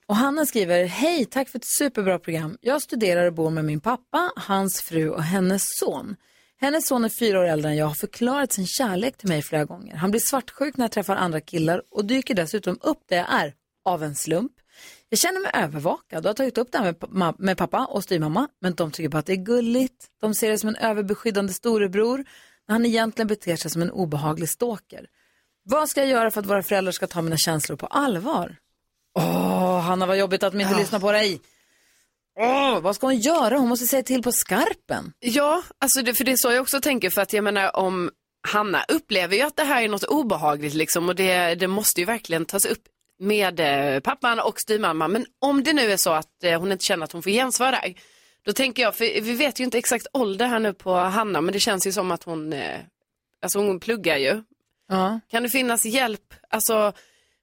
och Hanna skriver, hej, tack för ett superbra program. Jag studerar och bor med min pappa, hans fru och hennes son. Hennes son är fyra år äldre än jag och har förklarat sin kärlek till mig flera gånger. Han blir svartsjuk när jag träffar andra killar och dyker dessutom upp där jag är, av en slump. Jag känner mig övervakad och har tagit upp det här med, pa- ma- med pappa och styvmamma, men de tycker bara att det är gulligt. De ser det som en överbeskyddande storebror, när han egentligen beter sig som en obehaglig stalker. Vad ska jag göra för att våra föräldrar ska ta mina känslor på allvar? Åh, Hanna vad jobbigt att de inte lyssnar på dig. Åh, vad ska hon göra? Hon måste säga till på skarpen.
Ja, alltså det, för det är så jag också tänker för att jag menar om Hanna upplever ju att det här är något obehagligt liksom och det, det måste ju verkligen tas upp med eh, pappan och styvmamman. Men om det nu är så att eh, hon inte känner att hon får gensvar där, då tänker jag, för vi vet ju inte exakt ålder här nu på Hanna, men det känns ju som att hon, eh, alltså hon pluggar ju.
Ja.
Kan det finnas hjälp, alltså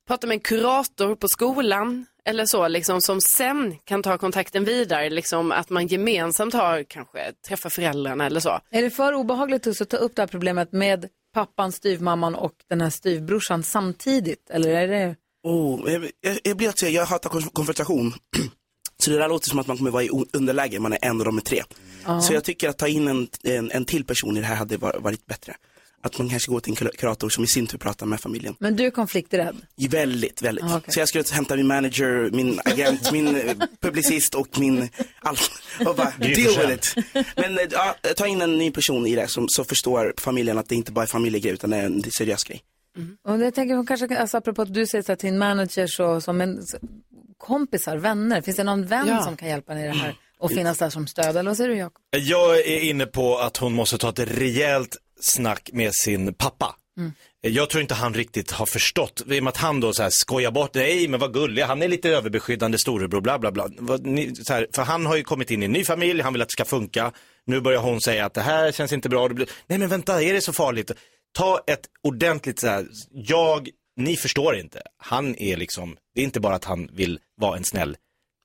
prata med en kurator på skolan eller så, liksom, som sen kan ta kontakten vidare, liksom, att man gemensamt har, kanske träffar föräldrarna eller så.
Är det för obehagligt Tusse, att ta upp det här problemet med pappan, styvmamman och den här styvbrorsan samtidigt? Eller är det...
Oh, jag, jag, jag blir att säga, jag hatar konf- konfrontation. Så det där låter som att man kommer vara i o- underläge, man är en och de är tre.
Ja.
Så jag tycker att ta in en, en, en till person i det här hade var- varit bättre. att man kanske går till en kura- kurator som i sin tur pratar med familjen.
Men du är konflikträdd?
Väldigt, väldigt.
Ah, okej.
Så jag skulle hämta min manager, min agent, min eh, publicist och min allt. Och bara,
Gry
deal
Forssell.
with it. Men eh, ja, ta in en ny person i det som, så förstår familjen att det inte bara är familjegrej utan det är en seriös grej.
Och jag tänker hon kanske, alltså apropå att du säger så här till en manager så, som en så- kompisar, vänner. Finns det någon vän
Ja.
som kan hjälpa dig i det här och finnas där som stöd? Eller vad säger du Jakob?
Jag är inne på att hon måste ta ett rejält snack med sin pappa. Jag tror inte han riktigt har förstått, i och med att han då så här skojar bort, nej men vad gullig, han är lite överbeskyddande storebror, bla bla bla. Vad ni- Så här, för han har ju kommit in i en ny familj, han vill att det ska funka. Nu börjar hon säga att det här känns inte bra, Det blir, nej men vänta, är det så farligt? Ta ett ordentligt så här, jag, ni förstår inte. Han är liksom, det är inte bara att han vill vara en snäll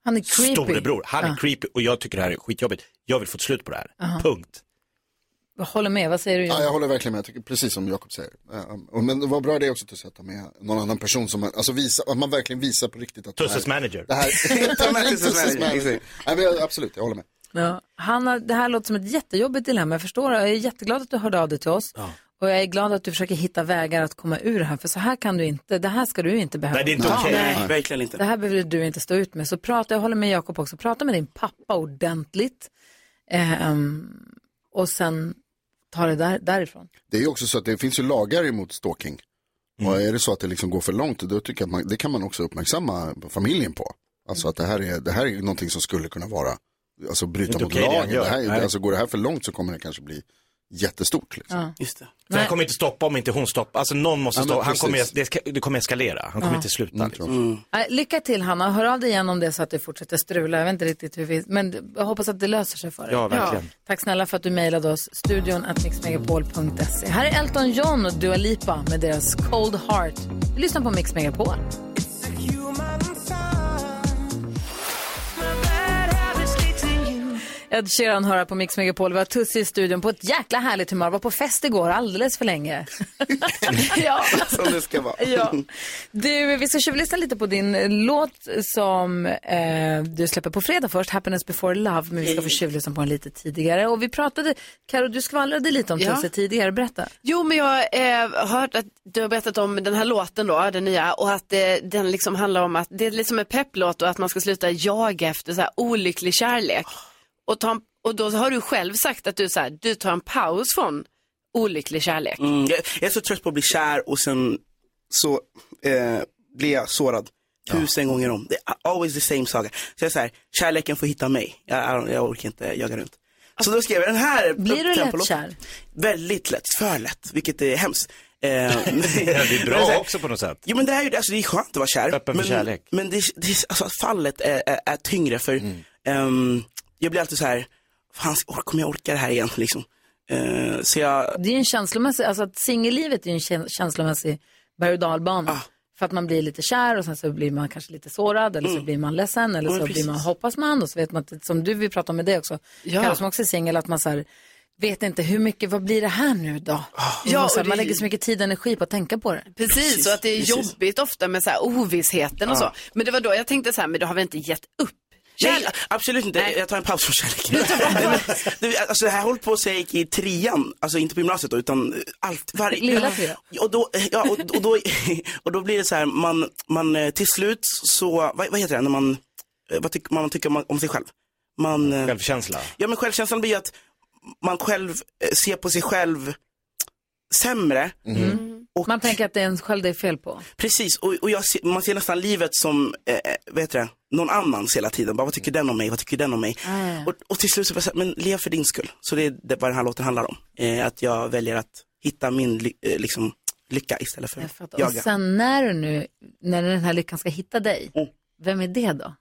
Han är creepy.
storebror. Han är
Ja.
creepy och jag tycker det här är skitjobbigt. Jag vill få ett slut på det här.
Aha.
Punkt.
Jag håller med, vad säger du
Ja,
Jakob?
jag håller verkligen med, jag tycker precis som Jakob säger. Eh, um, och Men vad bra det är också att sätta med någon annan person som man, alltså visa, att man verkligen visar på riktigt att det här-
Tusses manager.
Det här,
Ta med Tusses
Tusses
manager,
manager. Nej, men jag, absolut, jag håller med.
Ja. Hanna, det här låter som ett jättejobbigt dilemma, jag förstår. Jag är jätteglad att du hörde av dig till oss. Och jag är glad att du försöker hitta vägar att komma ur det här, för så här kan du inte, det här ska du inte behöva.
Nej, det är inte
ta.
okej. Nej, verkligen inte.
Det här behöver du inte stå ut med. Så prata, jag håller med Jakob också, prata med din pappa ordentligt. Ehm, och sen ta det där, därifrån.
Det är ju också så att det finns ju lagar emot stalking. Och är det så att det liksom går för långt, då tycker jag att man, det kan man också uppmärksamma familjen på. Alltså att det här är, det här är ju någonting som skulle kunna vara, alltså
Det är
bryta
inte
mot
okej det han
lagen. Det
gör.
här, är-
Nej.
alltså går det här för långt så kommer det kanske bli jättestort. Liksom.
Ja.
Just det.
För han kommer inte stoppa om inte hon stoppar. Alltså någon måste
Ja, men
stoppa. Han kommer,
precis.
det, ska, det kommer eskalera. Han
Ja.
kommer inte sluta. liksom.
Nej, lycka till Hanna, hör av dig igen om det är så att det fortsätter strula. Jag vet inte riktigt hur vi, men jag hoppas att det löser sig för dig.
Ja, verkligen.
Tack snälla för att du mejlade oss, studion at mixmegapol.se. Här är Elton John och Dua Lipa med deras Cold Heart. Du lyssnar på Mix Megapol. Ed Sheeran hör här på Mix Megapol. Vi har Tussi i studion på ett jäkla härligt humör. Var på fest igår alldeles för länge. ja.
Som det ska vara.
Ja. Du, vi ska tjuvlyssna lite på din eh, låt som eh, du släpper på fredag först, Happiness before love, men vi ska
Mm.
få tjuvlyssna på den lite tidigare. Och vi pratade, Karo, du skvallrade lite om
Ja.
Tussi tidigare, berätta.
Jo, men jag eh, har hört att du har berättat om den här låten då, den nya, och att eh, den liksom handlar om att det är lite som en pepplåt och att man ska sluta jaga efter så här olycklig kärlek. Och, ta en, och då har du själv sagt att du, så här, du tar en paus från olycklig kärlek.
Mm, jag, jag är så trött på att bli kär och sen så eh, blir jag sårad tusen gånger om. Det är always the same saga. Så jag är så här, kärleken får hitta mig. Jag, jag, jag orkar inte jaga runt. Så då skrev jag den här.
Blir du
tempolåten.
lätt kär?
Väldigt lätt, för lätt, vilket är hemskt. Eh,
det är
men så
bra
här-
också på något sätt.
Jo men det är ju det, alltså, det är skönt att vara kär.
Öppen för
men
kärlek. Mm.
men det, det, alltså, fallet är, är, är tyngre för ehm, jag blir alltid så här, fan or- kommer jag orka det här igen liksom? Eh, så jag,
Det är ju en känslomässig, alltså att singellivet är ju en kä- känslomässig berg och dalbana.
Ah.
För att man blir lite kär och sen så blir man kanske lite sårad eller så
Mm.
blir man ledsen eller
Ja,
så
men
blir man,
precis.
hoppas man och så vet man, att- som du vill prata med det också,
Ja.
Kalle som också är singel, att man så här, vet inte hur mycket, vad blir det här nu då?
Ah. Ja,
man, så
och
här,
det
man
är
lägger
ju-
så mycket tid och energi på att tänka på det.
Precis, och att det är jobbigt ofta med så här ovissheten och så.
Ja.
Men det var då jag tänkte så här, men du har väl inte gett upp?
Nej, absolut inte. Jag tar en paus från kärleken. Nej, men, du, alltså, det här håller på att säga gick i trean, alltså inte på gymnasiet då, utan eh, allt, varje...
Lilla trean.
Och då, eh, ja, och, och, då, och då blir det så här, man, man eh, till slut så, vad, vad heter det, när man, eh, vad tycker man tycker om- om sig själv? Man, eh,
Självkänsla.
ja men självkänslan blir att man själv eh, ser på sig själv sämre.
Man tänker att det är en själv det är fel på.
Precis, och, och jag ser, man ser nästan livet som, eh, vad heter det, någon annans hela tiden. Bara, vad tycker den om mig, vad tycker den om mig? Och, och till slut så bara, så här, men lev för din skull. Så det är det, vad den här låten handlar om. Eh, att jag väljer att hitta min ly, eh, liksom, lycka istället för att
Och
jaga.
sen när du nu, när den här lyckan ska hitta dig, vem är det då?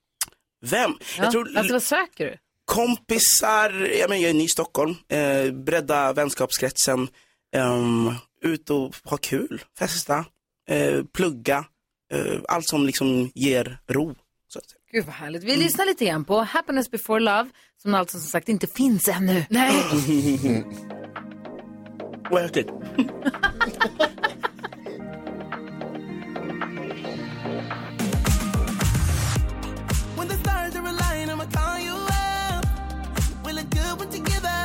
Vem? Oh.
Ja,
Jag tror
alltså vad söker du?
kompisar, jag, menar, jag är ny i Stockholm, eh, bredda vänskapskretsen, ehm, ut och ha kul, festa, eh, plugga, eh, allt som liksom ger ro. Så att säga.
Gud vad härligt.
Mm.
Vi lyssnar lite igen på Happiness before love, som alltså som sagt inte finns ännu. Nej.
Worth it.
When the stars are aligned, I'ma call you up. We look good when together.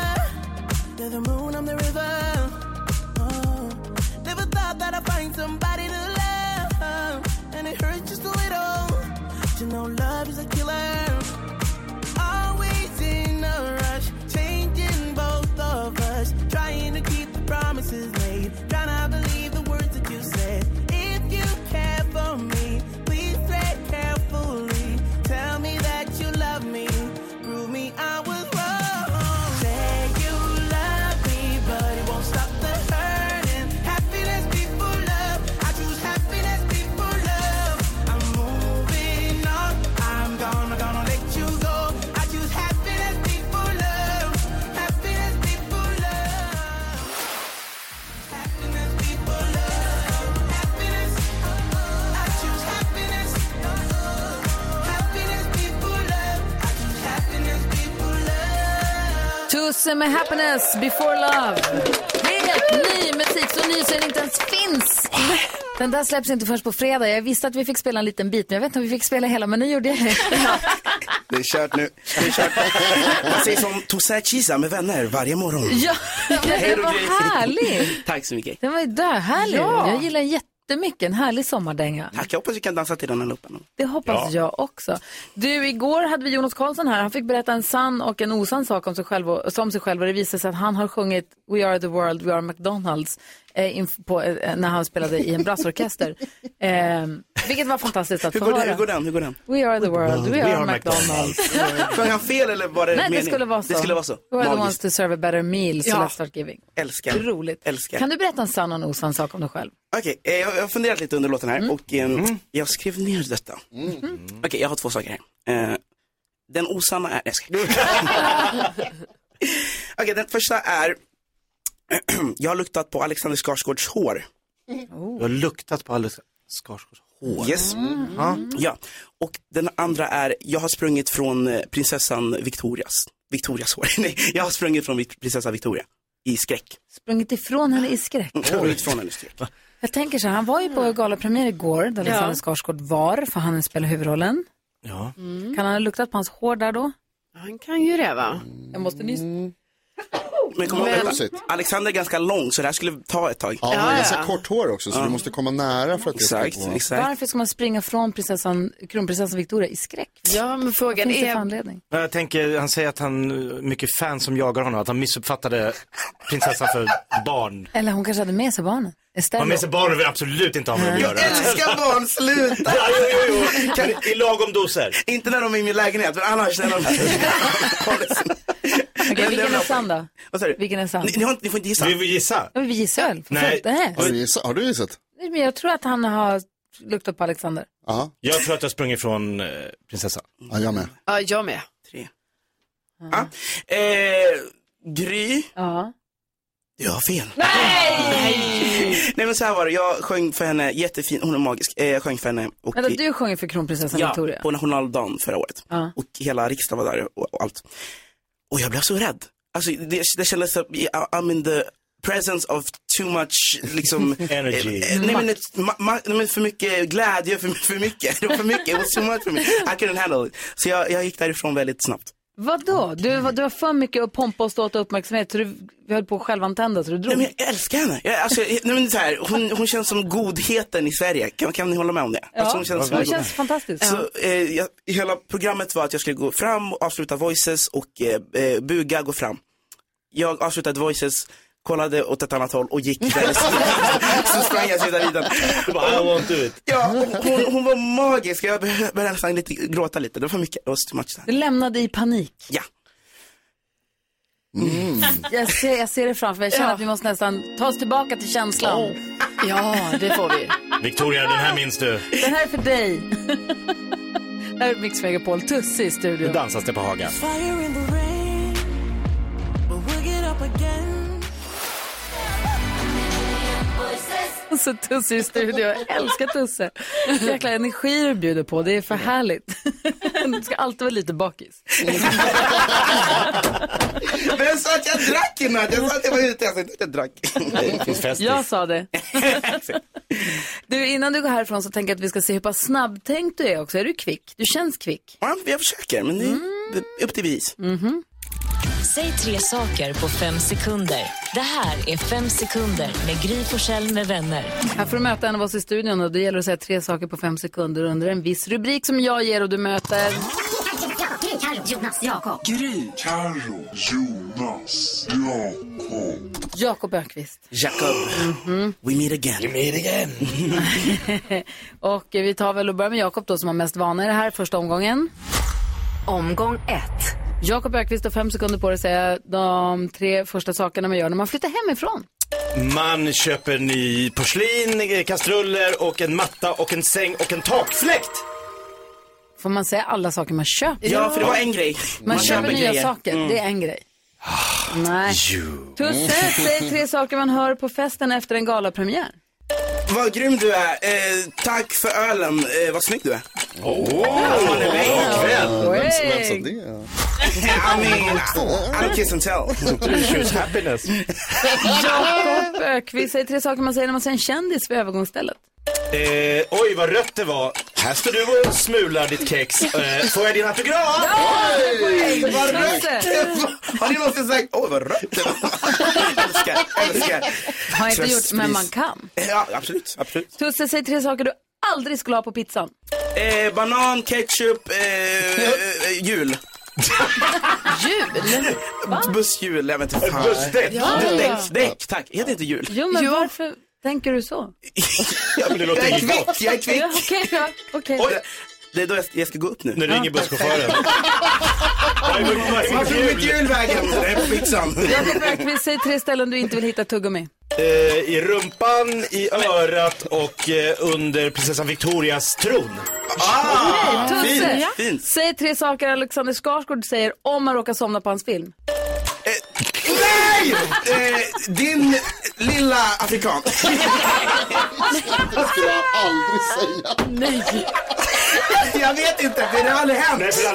You're the moon, I'm the river. Oh. find somebody to love, and it hurts just a little. But you know, love is a killer. Always in a rush, changing both of us, trying to keep the promises made, trying to believe the words that you said. If you care for me, please tread carefully. Tell me that you love me, prove me I was wrong. Say you love me, but it won't stop the hurting. Happiness before love, I choose happiness before love. I'm moving on, I'm gonna gonna let you go. I choose happiness before love, happiness before love. I choose happiness. Happiness before love. I choose happiness before love.
Tusse med Happiness before love. Helt ny musik, så ny så den inte ens finns. Den där släpps inte först på fredag. Jag visste att vi fick spela en liten bit, men jag vet inte om vi fick spela hela, men nu gjorde jag det.
Det är kört nu. Det är kört. Man säger som Toussaint Chisa med vänner varje morgon.
Ja,
Hej
det
då, Gry.
var härligt.
Tack så mycket.
Den var ju döhärlig.
Ja.
Jag gillar den jättemycket. En härlig sommardänga.
Tack, jag hoppas vi kan dansa till den här loopen.
Det hoppas
Ja.
jag också. Du, igår hade vi Jonas Karlsson här. Han fick berätta en sann och en osann sak om sig själv och, som sig själv. Och det visade sig att han har sjungit We are the world, we are McDonalds eh, inf- på, eh, när han spelade i en brasorkester. eh, vilket var fantastiskt att
Hur
få
går,
höra.
den, hur går den? Hur går den?
We are the world, we, are, McDonalds.
Sjöng han fel eller var det
Nej,
meningen?
det skulle vara så.
Det skulle vara så.
We are the ones
Magiskt.
to serve a better meal, so
Ja.
let's start giving.
Älskar.
Roligt.
Älskar.
Kan du berätta en sann och en osann sak om dig själv?
Okej, eh, jag jag har funderat lite under låten här
Mm.
och eh, jag skrev ner detta. Okej, jag har två saker här. Eh, den osanna är... Nej, jag skojar. Okej, den första är... jag har luktat på Alexander Skarsgårds hår.
Du har luktat på Alice Skarsgårds hår. Mm.
Yes. Mm.
Ja.
Ja. Och den andra är, jag har sprungit från eh, prinsessan Victorias. Victorias hår. Nej, jag har sprungit från Vic- prinsessan Victoria. I skräck. Mm.
Sprungit ifrån henne i skräck.
Sprungit från henne i skräck.
Jag tänker så här, han var ju
Mm.
på galapremiär igår där Alexander
Ja.
Skarsgård var, för han spelar huvudrollen.
Ja.
Kan han ha luktat på hans hår där då?
Mm.
Mm.
Han kan ju det va?
Mm.
Jag måste nyss.
Men kom ihåg, detta. Alexander är ganska lång så det här skulle ta ett tag.
Ja, han har ganska kort hår också så
Ja.
du måste komma nära för att det
Exakt,
gå.
exakt.
Varför ska man springa från prinsessan, kronprinsessan Victoria i skräck?
Ja, men frågan
Vad finns det
är-
för anledning?
Jag tänker, han säger att han, eh, mycket fans som jagar honom, att han missuppfattade prinsessan för barn.
Eller hon kanske hade med sig barnen.
Han med
Estelle.
sig barnen vill absolut inte ha med att göra.
barn, sluta!
Ja, jo, jo, jo. Kan, I lagom doser.
Inte när de är i min lägenhet, men annars när de...
Okej, vilken är sann då?
Vad sa du?
Vilken är sann?
Ni, ni, har, inte- ni får inte gissa.
Vi vill gissa.
Ja, men Vi gissar väl? för fullt. Nej.
Har du gissat? Har du gissat?
Nej, Men jag tror att han har luktat på Alexander.
Ja.
Jag tror att jag sprungit från eh, prinsessan.
Ja, jag med.
Ja, jag med.
Tre. Ja. Eh, Gry.
Ja.
Jag har fel.
Mm.
Nej! Nej men så här var det, jag sjöng för henne jättefin, hon är magisk. Eh, jag sjöng för henne. Och
Vänta, du sjöng ju för kronprinsessan
ja,
Victoria.
på nationaldagen förra året.
Ja.
Och hela riksdagen var där och, och allt. Och jag blev så rädd. Alltså det, det kändes som, I- I'm in the presence of too much liksom.
Energy.
Eh, eh, nej, men, ett- ma, ma, nej men för mycket glädje, för, för mycket. Det var för mycket, it was too much for me. I couldn't handle it. Så jag, jag gick därifrån väldigt snabbt.
Vadå? Du, var- du var för mycket att pompa och ståt och uppmärksamhet så du vi höll på att självantända så du
Nej,
drog.
men jag älskar henne. Jag, alltså, jag, nej, men så här, hon, hon känns som godheten i Sverige. Kan, kan ni hålla med om det?
Ja,
Alltså, som
det
god-
känns fantastiskt.
Så, eh, jag, hela programmet var att jag skulle gå fram, avsluta voices och eh, eh, buga, gå fram. Jag avslutade voices, kollade åt ett annat håll och gick väldigt snabbt. Så sprang jag sista liten.
I want to it.
Ja, och hon, hon var magisk. Jag började började nästan lite, gråta lite. Det var för mycket. Det var too much.
Du lämnade i panik.
Ja.
Mm.
Mm.
Jag ser, jag ser det framför mig. Jag känner att vi måste nästan ta oss tillbaka till känslan. Ja, det får vi.
Victoria, den här minns du.
Den här är för dig. Det här är Mix Megapol, Tusse i studion.
Nu dansas det på Haga.
Fire in the rain, but we'll get up again.
Så Tusse i studion. Jag älskar Tusse. Jäkla energi du bjuder på. Det är för härligt. Du ska alltid vara lite bakis.
Vem sa att jag drack i natt? Jag sa att jag var ute. Jag sa inte att jag drack. Det finns festis.
Jag sa det. Du, innan du går härifrån så tänker jag att vi ska se hur pass snabbtänkt du är också. Är du kvick? Du känns kvick.
Ja, jag försöker, men det, det, upp till bevis.
Mhm.
Säg tre saker på fem sekunder. Det här är Fem sekunder med Gry Forssell med vänner.
Här får du möta en av oss i studion och det gäller att säga tre saker på fem sekunder under en viss rubrik som jag ger och du möter...
Gry, Carro, Jonas, Jakob. Gry, Carro, Jonas, Jakob.
Jakob Ökvist.
Jacob,
Mhm.
we meet again. We meet again.
och vi tar väl och börjar med Jakob då som har mest vana i det här första omgången. Omgång ett. Jakob Ökvist har fem sekunder på dig att säga de tre första sakerna man gör när man flyttar hemifrån.
Man köper ny porslin, eh, kastruller och en matta och en säng och en takfläkt.
Får man säga alla saker man köper?
Ja, för det var en grej.
Man,
Man
köper,
köper
nya
grejer.
saker,
Mm. Ah.
det är en grej. Nej. Tusse, säg tre saker man hör på festen efter en galapremiär.
Vad grym du är. Eh, tack för ölen. Eh, vad snygg du är. Åh, oh,
Vem- vem sa
det? I mean, I'll kiss and tell.
Choose happiness.
Jakob Ökvist, säg tre saker man säger när man ser en kändis vid övergångsstället.
Eh, oj, vad rött det var. Här står du och smular ditt kex. Eh, får jag din autograf?
Ja, det får jag.
Oj, vad rött det var.
Har ni någonsin sagt, åh vad rött det var? Älskar, älskar.
Har jag inte gjort,
Tröstpris.
men man kan.
Ja, absolut, absolut.
Tusse, säg tre saker du aldrig skulle ha på pizzan.
Eh, banan, ketchup, eh, eh, jul.
Jul?
Busshjul, jag vet inte fan.
Bussdäck. Ja.
Däck, däck, tack. Heter inte jul?
Jo, men varför tänker du så?
Ja, men det låter jag är
inget
kvick, jag är kvick.
Ja, Okej, ja, okej.
Oj, Det är då jag, jag ska gå upp nu. Nu
ringer busschauffören.
Varför är mitt hjul vägen? Det är fixan.
Jakob Ökvist, säg tre ställen du inte vill hitta tuggummi.
Eh, I rumpan, i örat och eh, under prinsessan Victorias tron.
Nej, Tusse,
fint, fint.
säg tre saker Alexander Skarsgård säger om man råkar somna på hans film.
Nej! Eh, din lilla afrikan.
Det skulle jag aldrig säga.
Nej.
Jag vet inte, för det har aldrig hänt.
Nej, för det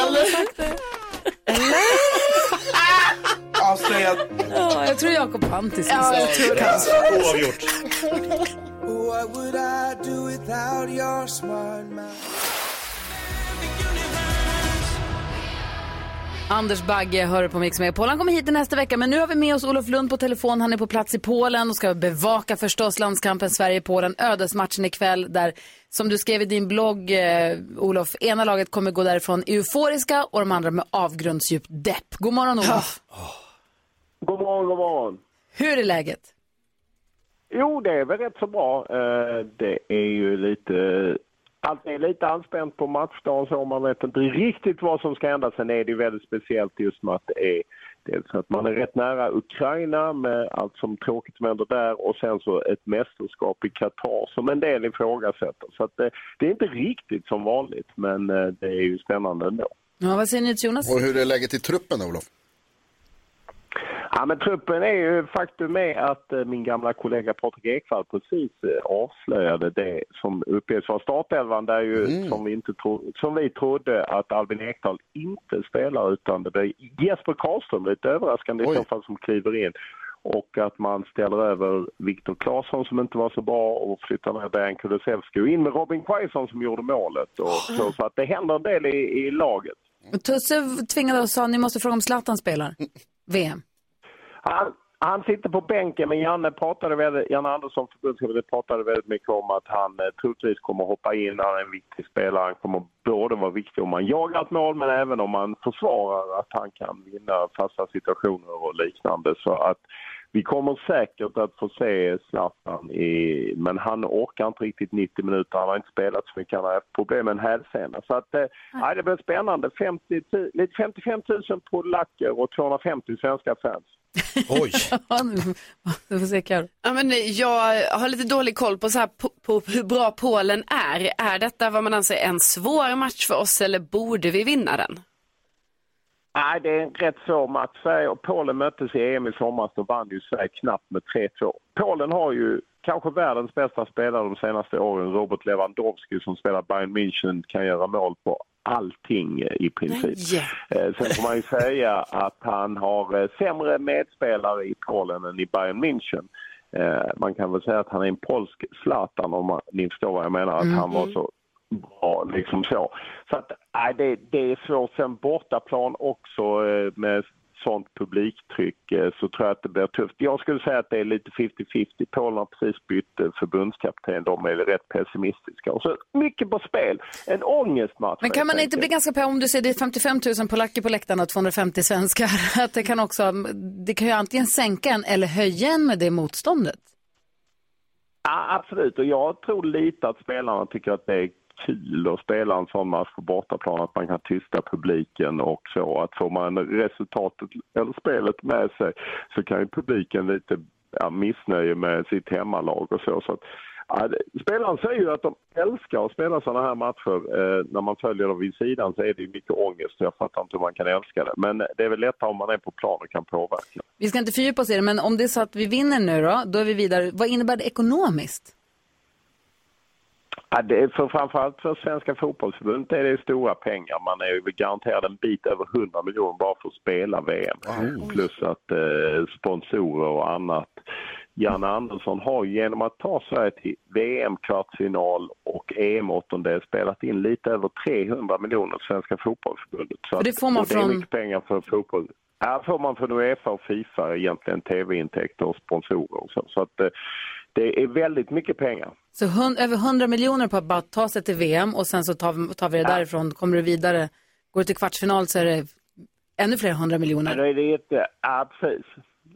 har aldrig hänt, exakt.
Avslöjad.
Ja, jag tror Jakob Pantis.
Ja, jag tror det.
Oavgjort.
What would I do without your smart
Anders Bagge hör du på Mix med Polen. kommer hit nästa vecka, men nu har vi med oss Olof Lund på telefon. Han är på plats i Polen och ska bevaka förstås landskampen Sverige-Polen, ödesmatchen ikväll där, som du skrev i din blogg, eh, Olof, ena laget kommer gå därifrån euforiska och de andra med avgrundsdjup depp. God morgon Olof!
God morgon, god morgon.
Hur är läget?
Jo, det är väl rätt så bra. Eh, Det är ju lite... Allt är lite anspänt på matchdagen så man vet inte riktigt vad som ska hända. Sen är det ju väldigt speciellt just med att det är dels att man är rätt nära Ukraina med allt som tråkigt som händer där och sen så ett mästerskap i Qatar som en del ifrågasätter. Så att eh, det är inte riktigt som vanligt men eh, det är ju spännande ändå.
Ja, vad säger ni till Jonas?
Och hur är läget i truppen då, Olof?
Ja, men truppen är ju faktum är att eh, min gamla kollega Patrik Ekwall precis eh, avslöjade det som uppges vara startelvan där ju
Mm.
som, vi inte tro, som vi trodde att Albin Ekdal inte spelar utan det blir Jesper Karlström lite överraskande i så fall som kliver in och att man ställer över Viktor Claesson som inte var så bra och flyttar ner Dejan Kulusevski och in med Robin Quaison som gjorde målet. Och,
Ah.
så, så att det händer en del i, i laget.
Tusse tvingade oss att ni måste fråga om Zlatan spelar VM.
Han, han sitter på bänken, men Janne, pratade väldigt, Janne Andersson, förbundskapten, pratade väldigt mycket om att han eh, troligtvis kommer hoppa in. Han är en viktig spelare. Han kommer både vara viktig om han jagar ett mål, men även om han försvarar att han kan vinna fasta situationer och liknande. Så att vi kommer säkert att få se Zlatan, i, men han orkar inte riktigt 90 minuter. Han har inte spelat så mycket, han har haft problem med en hälsena. Så att, eh, nej, det blir spännande. 50, ti- lite 55 000 polacker och 250 svenska fans.
Du får se Carro.
Ja, men jag har lite dålig koll på, så här, på, på hur bra Polen är. Är detta vad man anser en svår match för oss eller borde vi vinna den?
Nej, det är en rätt svår match. Sverige och Polen möttes i EM i somras. Då vann ju Sverige knappt med 3-2. Polen har ju kanske världens bästa spelare de senaste åren. Robert Lewandowski som spelar Bayern München kan göra mål på allting eh, i princip. Eh, Sen får man ju säga att han har eh, sämre medspelare i Polen än i Bayern München. Eh, Man kan väl säga att han är en polsk Zlatan om man- ni förstår vad jag menar. Att han var så bra liksom så. Så att, nej, det, det är svårt. Sen bortaplan också eh, med sånt publiktryck eh, så tror jag att det blir tufft. Jag skulle säga att det är lite 50-50. Polen har precis bytt eh, förbundskapten. De är rätt pessimistiska. Och så mycket på spel. En ångestmatch.
Men kan man inte bli ganska på om du ser det är 55 000 polacker på läktarna och 250 svenskar? Att det kan också, det kan ju antingen sänka en eller höja en med det motståndet.
Ja, absolut, och jag tror lite att spelarna tycker att det är kul att spela en sån match på bortaplan, att man kan tysta publiken och så. Att får man resultatet, eller spelet med sig, så kan ju publiken lite ja, missnöje med sitt hemmalag och så. så att, ja, det- spelarna säger ju att de älskar att spela såna här matcher. Eh, när man följer dem vid sidan så är det ju mycket ångest, så jag fattar inte hur man kan älska det. Men det är väl lättare om man är på plan och kan påverka.
Vi ska inte fördjupa oss i det, men om det är så att vi vinner nu då, då är vi vidare. Vad innebär det ekonomiskt?
Ja, det är för framförallt för Svenska fotbollsförbundet är det stora pengar. Man är ju garanterad en bit över 100 miljoner bara för att spela VM. Plus att eh, sponsorer och annat. Janne Andersson har ju genom att ta Sverige till VM-kvartsfinal och EM-åttondel spelat in lite över 300 miljoner till Svenska fotbollsförbundet. Så
Och det
att-
får man
och det
från-
är mycket pengar för fotboll. Ja, får man från Uefa och Fifa egentligen tv-intäkter och sponsorer och så. Så att, eh, det är väldigt mycket pengar.
Så hun, över 100 miljoner på att bara ta sig till VM och sen så tar, tar vi det därifrån, kommer du vidare, går du till kvartsfinal så är det ännu fler hundra miljoner.
Nej, det är inte, ja, precis.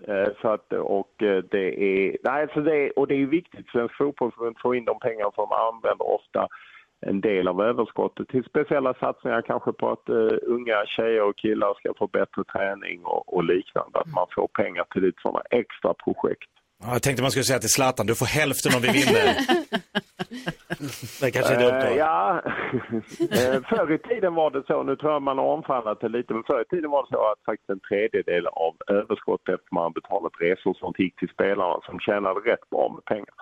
Eh, Så att, och eh, det är, nej, så det är, och det är viktigt, Svensk Fotbollförbund får in de pengar som använder ofta en del av överskottet till speciella satsningar, kanske på att eh, unga tjejer och killar ska få bättre träning och, och liknande. Att man får pengar till lite sådana extra projekt.
Ja, jag tänkte man skulle säga till Zlatan, du får hälften om vi vinner. det kanske är dumt
Eh,
då.
Ja, Eh, förr i tiden var det så, nu tror jag man har omfamnat det lite, men förr i tiden var det så att faktiskt en tredjedel av överskottet efter man betalat resor sånt gick till spelarna som tjänade rätt bra med pengar.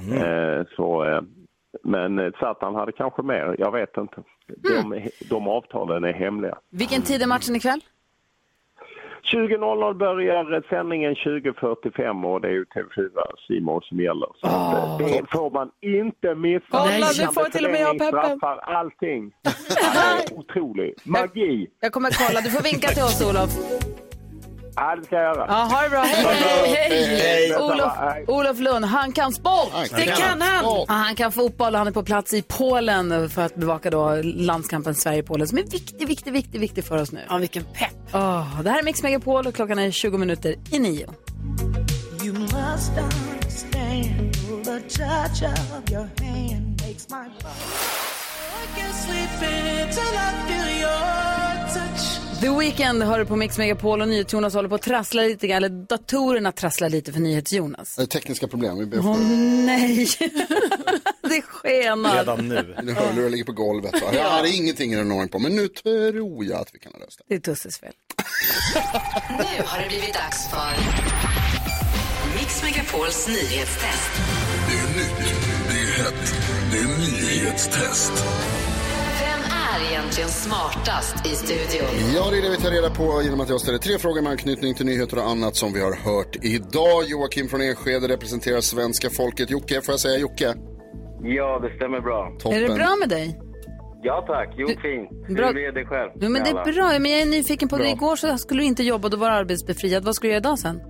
Mm.
Eh, Så, eh, men eh, Zlatan hade kanske mer, jag vet inte. De, de avtalen är hemliga.
Vilken tid är matchen ikväll?
20.00 börjar sändningen 20.45 och det är ju TV4 C More som gäller. Så att, eh, det får man inte missa.
Kolla,
Nej.
nu får till och med jag och Peppen.
Straffar allting. Ja, det är otroligt. Magi.
Jag kommer kolla, du får vinka till oss Olof.
Ja, det ska jag göra.
Ja, ha det bra, hej!
Hej. Hej.
Olof, Olof Lund, han kan sport!
Det kan han.
Ja, han kan fotboll och han är på plats i Polen för att bevaka då landskampen Sverige-Polen som är viktig, viktig, viktig, viktig för oss nu. Ja, vilken pepp! det här är Mix Megapol och klockan är 20 minuter i nio.
You must understand the touch of your hand makes my body. I can't sleep until I feel your touch.
The Weeknd hör du på Mix Megapol och NyhetsJonas håller på att trassla lite grann, eller datorerna trasslar lite för NyhetsJonas.
Det är tekniska problem. Vi ber
Åh
för
nej, det skenar.
nu. Mina hörlurar ligger på golvet. Va? Jag hade ingenting i den ordning på, men nu tror jag att vi kan lösa
det. Det är Tusses fel.
Nu har det blivit dags för Mix Megapols nyhetstest.
Det är nytt, det är hett, det är nyhetstest.
Vem är egentligen smartast i studion?
Ja, det är det vi tar reda på genom att jag ställer tre frågor med anknytning till nyheter och annat som vi har hört idag. Joakim från Enskede representerar svenska folket. Jocke, får jag säga Jocke?
Ja, det stämmer bra.
Toppen.
Är det bra med dig?
Ja tack, jo fint.
bra.
Hur är det själv?
Jo, men det är
Alla?
bra, men jag är nyfiken på det.
Bra.
Igår så skulle du inte jobba, då var du arbetsbefriad. Vad ska du göra idag sen?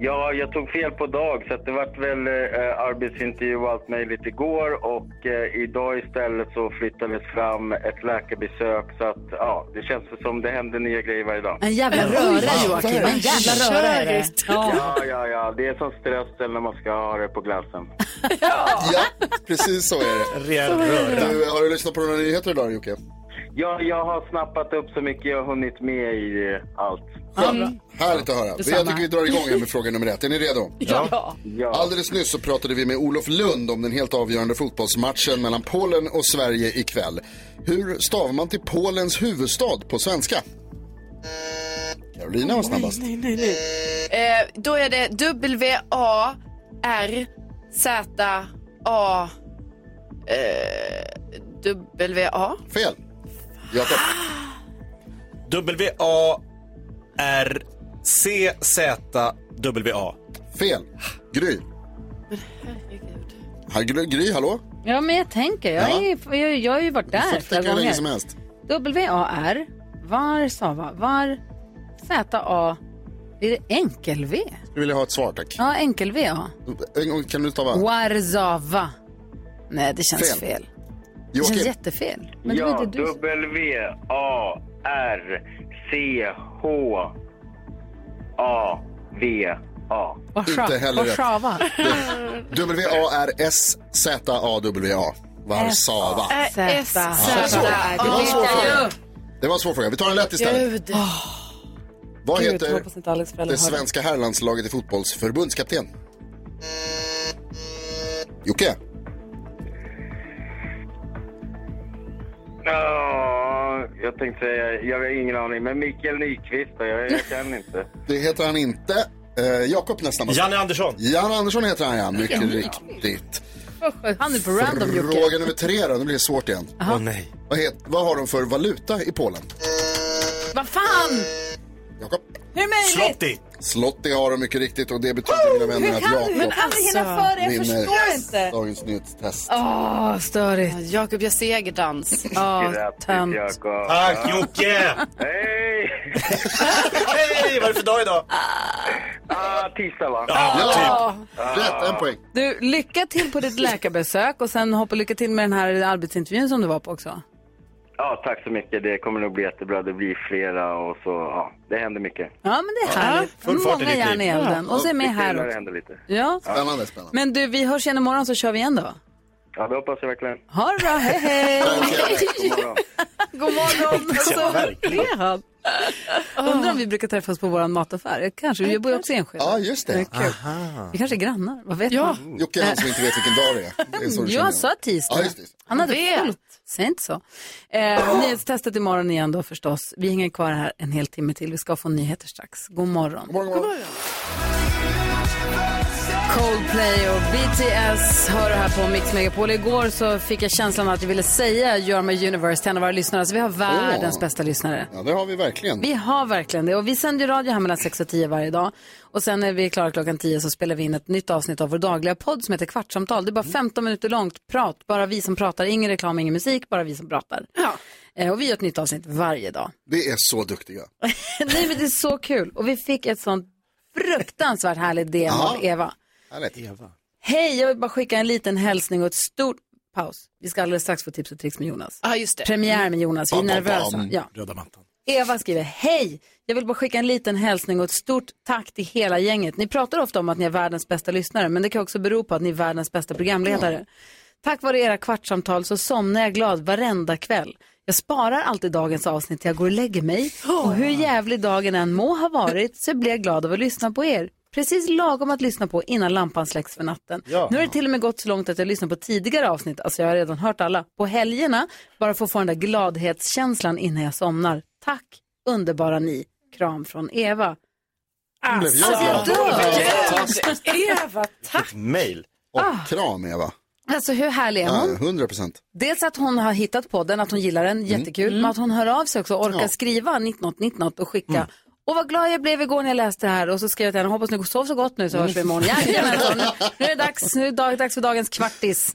Ja, jag tog fel på dag så att det vart väl eh, arbetsintervju och allt möjligt igår och eh, idag istället så flyttades fram ett läkarbesök så att ja, det känns som det händer nya grejer varje dag.
En jävla röra, Joakim. En jävla röra är det.
Ja, ja, ja. Det är som strössel när man ska ha det på glassen.
Precis så är det.
Rejäl röra.
Du, har du lyssnat på några nyheter idag Jocke?
Ja, jag har snappat upp så mycket jag har hunnit med i eh, allt.
Härligt att höra.
Mm. Detsamma.
Jag tycker vi drar igång här med fråga nummer ett. Är ni redo?
Ja. ja.
Alldeles nyss så pratade vi med Olof Lund om den helt avgörande fotbollsmatchen mellan Polen och Sverige ikväll. Hur stavar man till Polens huvudstad på svenska? Carolina var snabbast.
Nej, nej, nej. Eh, då är det W-A-R-Z-A... Eh, W-A?
Fel. Jakob.
W-A-R-C-Z-W-A.
Fel. Gry. Här, Gry, Gry, hallå?
Ja, men jag tänker. Jag,
Ja.
är, ju- jag, jag har ju varit
Du får
där
tänka
flera
hur länge som
gånger.
helst.
W-A-R, var stava, var Z-A, är det enkel-V?
Skulle vilja ha ett svar tack.
Ja, enkel-V-A.
En gång, kan du stava?
Warzava. Nej, det känns fel.
Fel.
Det känns
Joakim.
jättefel. Men det var
Ja,
inte du.
W-A-R-C-H-A-V-A.
Warszawa.
Inte heller rätt.
Warszawa.
W-A-R-S-Z-A-W-A. Warszawa.
Ä- S-
Ja,
Z-
svår.
A-
Det var en svår
Gud.
fråga.
Äh,
Det var en svår fråga. Vi tar en lätt istället.
Gud.
Vad
Gud,
heter
hoppas inte Alex föräldrar
det
hör det.
svenska herrlandslaget i fotbolls förbundskapten? Jocke?
Ja, jag tänkte säga, jag har ingen aning, men Mikael Nyqvist då, jag, jag kan inte.
Det heter han inte. Eh, Jakob nästan.
Janne
Andersson.
Janne Andersson heter han ja, mycket
Ja.
riktigt.
Han är på random,
Fråga
Jocke.
nummer tre då, nu blir det svårt igen.
Åh,
nej.
Vad, het, vad har de för valuta i Polen?
Vad fan!
Jakob?
Hur är det möjligt?
Slotti har de mycket riktigt och det betyder mina vänner
Hur
att
kan du?
Jakob
Men alltså- aldrig
Alltså,
hinna före, jag förstår
eh,
vinner
inte.
dagens nyhetstest.
Åh, störigt.
Jakob gör segerdans.
Ja, tönt.
Tack Jocke! Hej! Vad är det för dag idag?
Ah, tisdag va?
Ja,
typ.
Rätt, en poäng.
Du, lycka till på ditt läkarbesök och sen hoppa lycka till med den här arbetsintervjun som du var på också.
Ja, tack så mycket. Det kommer nog bli jättebra. Det blir flera och så, ja, det händer mycket.
Ja, men det är härligt.
Full fart i
Många
ditt
järn i
liv.
elden. Och så är med
Det kul
här
när Det
också.
händer lite.
Ja.
Spännande, spännande.
Men du, vi hörs igen imorgon så kör vi igen då.
Ja, det hoppas jag verkligen.
Ha det bra, hej hej!
God morgon.
God morgon!
hoppas jag verkligen.
är han. Undrar om vi brukar träffas på vår mataffär. Kanske, jag bor ju också i Enskede.
Ja, just det.
kul. Vi kanske är grannar, vad vet
Ja.
man?
Jocke är han som inte vet vilken dag det är. Det är så det
Jag
känns.
sa tisdag.
Ja, just det.
Han hade fullt. Säg inte så. Eh, nyhetstestet imorgon igen då förstås. Vi hänger kvar här en hel timme till. Vi ska få nyheter strax. God morgon. Coldplay och BTS hör det här på Mix Megapol. Igår så fick jag känslan att jag ville säga Gör mig Universe till en av våra lyssnare. Så vi har världens bästa lyssnare.
Ja, det har vi verkligen.
Vi har verkligen det. Och vi sänder ju radio här mellan 6 och 10 varje dag. Och sen när vi är klara klockan 10 så spelar vi in ett nytt avsnitt av vår dagliga podd som heter Kvartsamtal. Det är bara 15 minuter långt prat. Bara vi som pratar. Ingen reklam, ingen musik. Bara vi som pratar. Eh, Och vi gör ett nytt avsnitt varje dag.
Det är så duktiga.
Nej men det är så kul. Och vi fick ett sånt fruktansvärt härligt DM av Eva.
Härligt. Eva.
Hej, jag vill bara skicka en liten hälsning och ett stort... Paus. Vi ska alldeles strax få tips och tricks med Jonas.
Ja, just det.
Premiär med Jonas, vi är
Bam, bam,
nervösa.
bam.
Ja.
Röda mattan.
Eva skriver, hej, jag vill bara skicka en liten hälsning och ett stort tack till hela gänget. Ni pratar ofta om att ni är världens bästa lyssnare, men det kan också bero på att ni är världens bästa programledare. Tack vare era kvartssamtal så somnar jag glad varenda kväll. Jag sparar alltid dagens avsnitt till jag går och lägger mig. Och hur jävlig dagen än må ha varit så blir jag glad av att lyssna på er. Precis lagom att lyssna på innan lampan släcks för natten. Nu har det till och med gått så långt att jag lyssnar på tidigare avsnitt, alltså jag har redan hört alla, på helgerna. Bara för att få den där gladhetskänslan innan jag somnar. Tack underbara ni. Kram från Eva.
Nu blev jag
Alltså, jag
glad.
dör.
Fantastiskt.
Eva, tack.
Mail. Och kram Eva.
Alltså hur härlig Ah. är hon?
Ja, 100 procent.
Dels att hon har hittat podden, att hon gillar den, jättekul. Men att hon hör av sig också, orkar skriva 1919 och skicka. Och vad glad jag blev igår när jag läste det här och så skrev jag till henne, hoppas ni sov så gott nu så hörs vi imorgon. Jajamensan, nu, nu är det dags, nu är det dag, dags för dagens kvartis.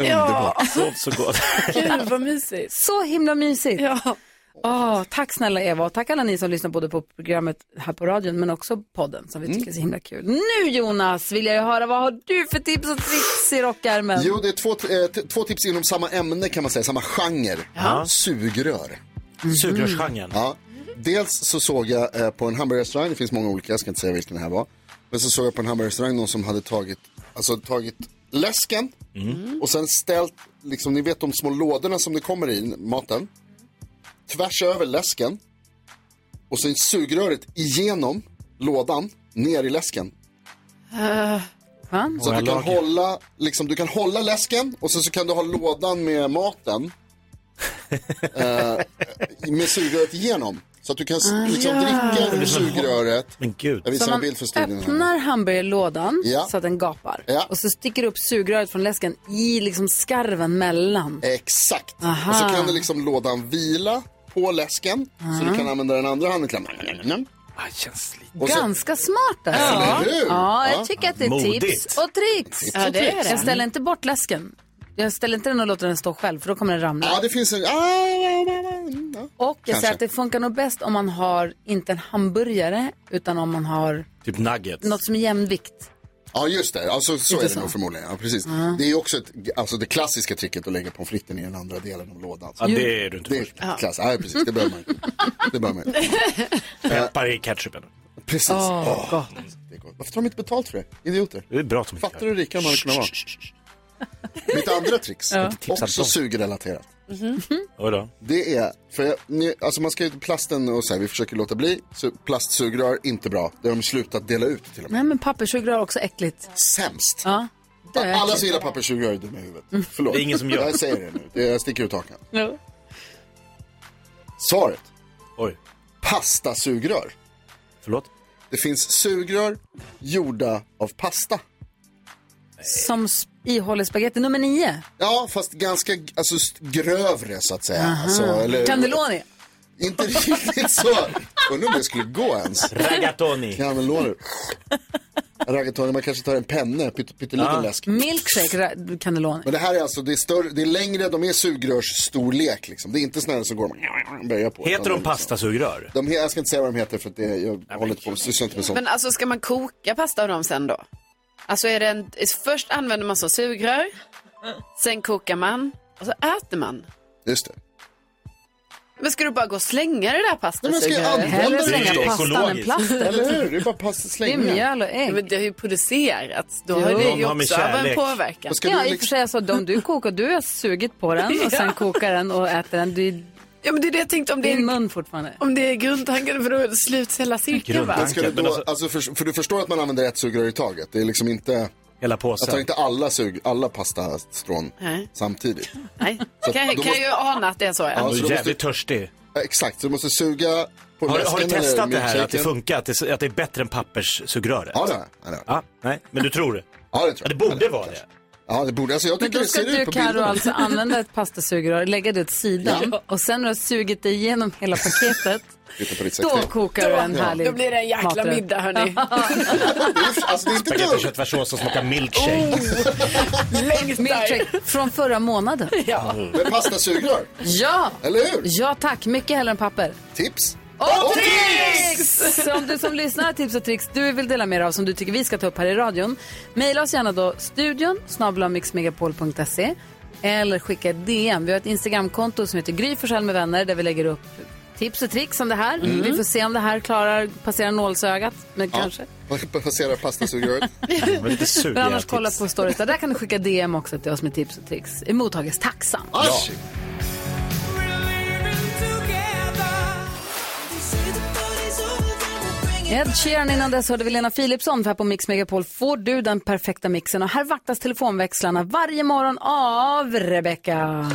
Sov så gott.
Gud vad mysigt. Så himla mysigt. Ja. tack snälla Eva och tack alla ni som lyssnar både på programmet här på radion men också podden som vi tycker är så himla kul. Nu Jonas vill jag ju höra, vad har du för tips och tricks i rockärmen?
Jo, det är två, eh, t- två tips inom samma ämne kan man säga, samma genre.
Ja. Mm-hmm.
Sugrör.
Sugrörsgenren.
Ja. Dels så såg jag eh, på en hamburgerrestaurang, det finns många olika, jag ska inte säga vilken det här var. Men så såg jag på en hamburgerrestaurang någon som hade tagit, alltså tagit läsken
Mm-hmm.
och sen ställt, liksom ni vet de små lådorna som det kommer i, maten. Tvärs över läsken och sen sugröret igenom lådan ner i läsken.
Eh.
Så att du kan, hålla, liksom, du kan hålla läsken och sen så kan du ha lådan med maten eh, med sugröret igenom. Så att du kan s-
Ah,
liksom,
ja.
dricka ur sugröret.
Men gud.
Jag visar en bild för studion. här.
öppnar hamburgerlådan
Ja.
så att den gapar.
Ja.
Och så sticker upp sugröret från läsken i liksom skarven mellan.
Exakt.
Aha.
Och så kan det liksom lådan vila på läsken. Så
Ah.
du kan använda den andra handen. Klämma. Och så-
Ganska smart alltså.
Eller
Ja.
hur?
ja, jag
Ja.
tycker att det är
Modigt.
tips och tricks.
Tips och Ja, det är tricks. det.
Jag ställer inte bort läsken. jag ställer inte den och låter den stå själv för då kommer den ramla.
Ja, det finns en...
Och jag
Kanske.
säger att det funkar nog bäst om man har inte en hamburgare utan om man har
Typ nuggets.
något som är jämnvikt.
Ja just det, alltså, så
Inte
är det
så.
nog förmodligen. Ja, precis. Det är ju också ett, alltså, det klassiska tricket att lägga pommes fritesen i den andra delen av lådan.
Ja, det är du inte
Det är klass. Ja, precis, det behöver man ju. Det behöver man ju.
Peppar i ketchupen.
Precis.
Åh,
Åh, det är gott. Varför tar de inte betalt för det? Idioter.
Det är bra att de
Fattar du hur rika man hade kunnat vara? Mitt andra tricks,
Ja. Inte tipsa
också
dem.
sugrelaterat.
Oj då.
Det är, för jag, ni, alltså man ska ju plasten och så här, vi försöker låta bli. Så plastsugrör, inte bra. Det har de slutat dela ut till och med.
Nej men papperssugrör är också äckligt.
Sämst.
Ja. Döäckligt.
Alla som gillar papperssugrör är dumma i huvudet. Förlåt.
Mm. Det är ingen som gör.
Jag säger det nu. Det- Jag sticker ut hakan.
Ja.
Svaret.
Oj.
Pastasugrör.
Förlåt?
Det finns sugrör gjorda av pasta.
Som s- ihåller spagetti nummer nio.
Ja, fast ganska alltså, st- grövre så att säga. Alltså, eller-
Cannelloni.
Inte riktigt så. Undrar om det skulle gå ens.
Ragatoni.
Cannelloni. Ragatoni, man kanske tar en penne, pytt- pytteliten läsk.
Milkshake, ra- cannelloni.
Men det här är alltså, det är, större, det är längre, de är sugrörsstorlek liksom. Det är inte sådana här som går och böjer på.
Heter
Utan
de pastasugrör?
De, he- jag ska inte säga vad de heter för att det, jag håller inte på, sysslar inte med sånt.
Men alltså ska man koka pasta av dem sen då? Alltså är det en, först använder man som sugrör, sen kokar man och så äter man.
Just det.
Men ska du bara gå och slänga det där
Nej, men ska jag
pastasugröret?
använda det? Eller hur? Det är bara pasta
Det är
slänga.
mjöl och ägg. Men det har ju producerats. Då
Jo.
har det
De
ju
har med
också av en
kärlek.
påverkan.
Ja,
liksom-
i och för sig alltså, om du kokar, du har sugit på den och sen kokar den och äter den. Du,
ja, men det är det jag tänkte om det är
din mun fortfarande.
Om det är grundtanken för då sluts hela cirkeln va?
Men ska du då, alltså, för, för du förstår att man använder ett sugrör i taget. Det är liksom inte...
Hela påsen.
Jag tar inte alla, sug, alla pastastrån
Nej.
samtidigt.
Nej,
Så
kan,
att då
kan jag ju ana att det är så. Ja.
så då måste-
törstig.
Exakt, så du måste suga på
Har,
läsken
har du testat
eller
det här att det
milkshaken.
funkar, att det, att det är bättre än papperssugröret?
Ja, det har jag.
Ja, nej, men du tror det?
Ja, det tror
jag. Det borde vara det.
Ja, det borde. Alltså, jag
Men
tycker
då
det
ska
ser
du
ut på
Karo
bilderna.
alltså använda ett pastasugrör, lägga det åt sidan
Ja.
och sen när du har sugit dig igenom hela paketet,
Titta på ditt
då
sexliv.
kokar du en härlig
Då blir det en jäkla
maträtt.
middag, hörni.
Alltså,
alltså,
Spagetti och köttfärssås som smakar milkshake.
Oh. Milkshake från förra månaden.
Ja.
Med pastasugrör.
Ja!
Eller hur?
Ja tack, mycket hellre än papper.
Tips.
Och, tricks! Så om du som lyssnar har tips och tricks du vill dela med dig av som du tycker vi ska ta upp här i radion, mejla oss gärna då studion snabel-a mixmegapol.se eller skicka ett DM. Vi har ett Instagramkonto som heter Gry Forssell med vänner där vi lägger upp tips och tricks om det här.
Mm.
Vi får se om det här klarar passera nålsögat, men
Ja.
kanske.
Passera pastasugröret.
Men annars kolla på stories där. Där kan du skicka DM också till oss med tips och tricks. Emottages tacksam.
Asch!
Ed Sheeran innan dess hörde vi Lena Philipsson för här på Mix Megapol får du den perfekta mixen och här vaktas telefonväxlarna varje morgon av Rebecca.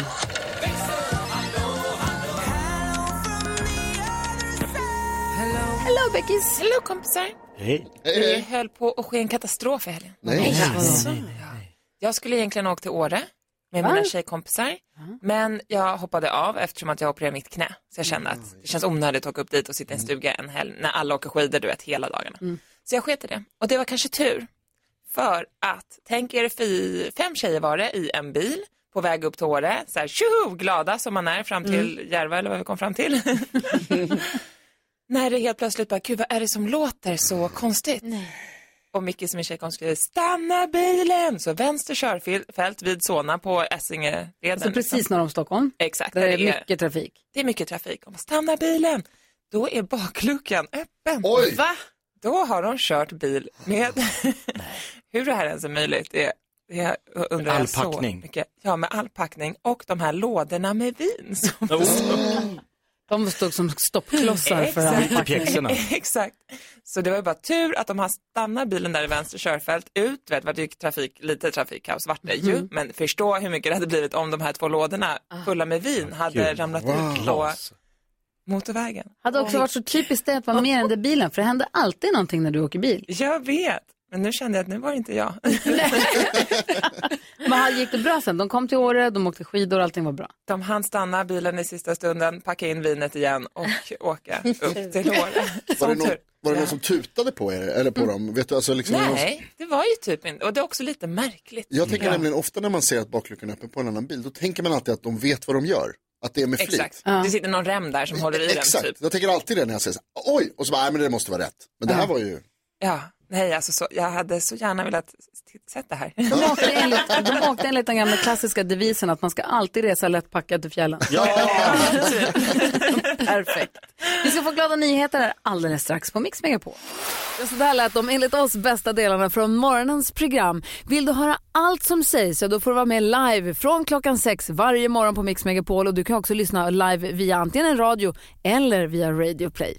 Hello Beckis! Hello kompisar!
Hej.
Det höll på att ske en katastrof i helgen.
Nej. Nej.
Alltså. Jag skulle egentligen ha åkt till Åre med
Va?
mina tjejkompisar. Men jag hoppade av eftersom att jag opererade mitt knä. Så jag kände att det känns onödigt att åka upp dit och sitta
Mm.
i en stuga en helg när alla åker skidor du vet hela dagarna. Så jag sket i det. Och det var kanske tur. För att, tänk er fy, fem tjejer var det i en bil på väg upp till Åre. Så här, tjoho, glada som man är fram till Järva eller vad vi kom fram till. När det helt plötsligt bara, gud vad är det som låter så konstigt? Och Micke som är tjejkompis skriver, stanna bilen! Så vänster körfält vid Solna på Essingeleden.
Alltså precis norr om Stockholm.
Exakt.
Där det är
liksom. det är-
mycket trafik.
Det är mycket trafik. Om man stannar bilen, då är bakluckan öppen.
Oj!
Va? Då har de kört bil med... Hur det här ens är möjligt, det, det undrar
All
jag så
packning.
mycket. Ja, med all packning och de här lådorna med vin. Som
De stod som stoppklossar för
Exakt.
all packning.
Exakt. Så det var ju bara tur att de har stannat bilen där i vänster körfält ut. Vet, vad det gick trafik, lite trafikkaos vart det ju.
Mhm. Ah.
Men förstå hur mycket det hade blivit om de här två lådorna fulla med vin hade
Gud.
ramlat
Wow.
ut på
Glas.
motorvägen.
Hade också varit så typiskt det att vara med i den där bilen för det händer alltid någonting när du åker bil.
Jag vet, men nu kände jag att nu var det inte jag.
Men här gick det bra sen? De kom till Åre, de åkte skidor, allting var bra.
De hann stanna bilen i sista stunden, packa in vinet igen och åka upp till Åre.
Var det,
Som
någon,
tur.
Var det någon som tutade på er? Eller på dem? Vet du, alltså liksom någon-
Nej, det var ju typ inte, och det är också lite märkligt.
Jag tänker
Ja.
nämligen ofta när man ser att bakluckan är öppen på en annan bil, då tänker man alltid att de vet vad de gör. Att det är med flit.
Exakt, det sitter någon rem där som håller i den
Exakt.
typ.
Jag tänker alltid det när jag säger så här, oj, och så bara, nej men det måste vara rätt. Men det här var ju...
Ja, nej alltså så, jag hade så gärna velat t- sett det här.
De åkte, enligt, de åkte enligt den gamla klassiska devisen att man ska alltid resa lättpackad till fjällen. Perfekt. Vi ska få glada nyheter här alldeles strax på Mix Megapol. Ja, Så där lät de enligt oss bästa delarna från morgonens program. Vill du höra allt som sägs så då får du vara med live från klockan sex varje morgon på Mix Megapol och du kan också lyssna live via antingen en radio eller via Radio Play.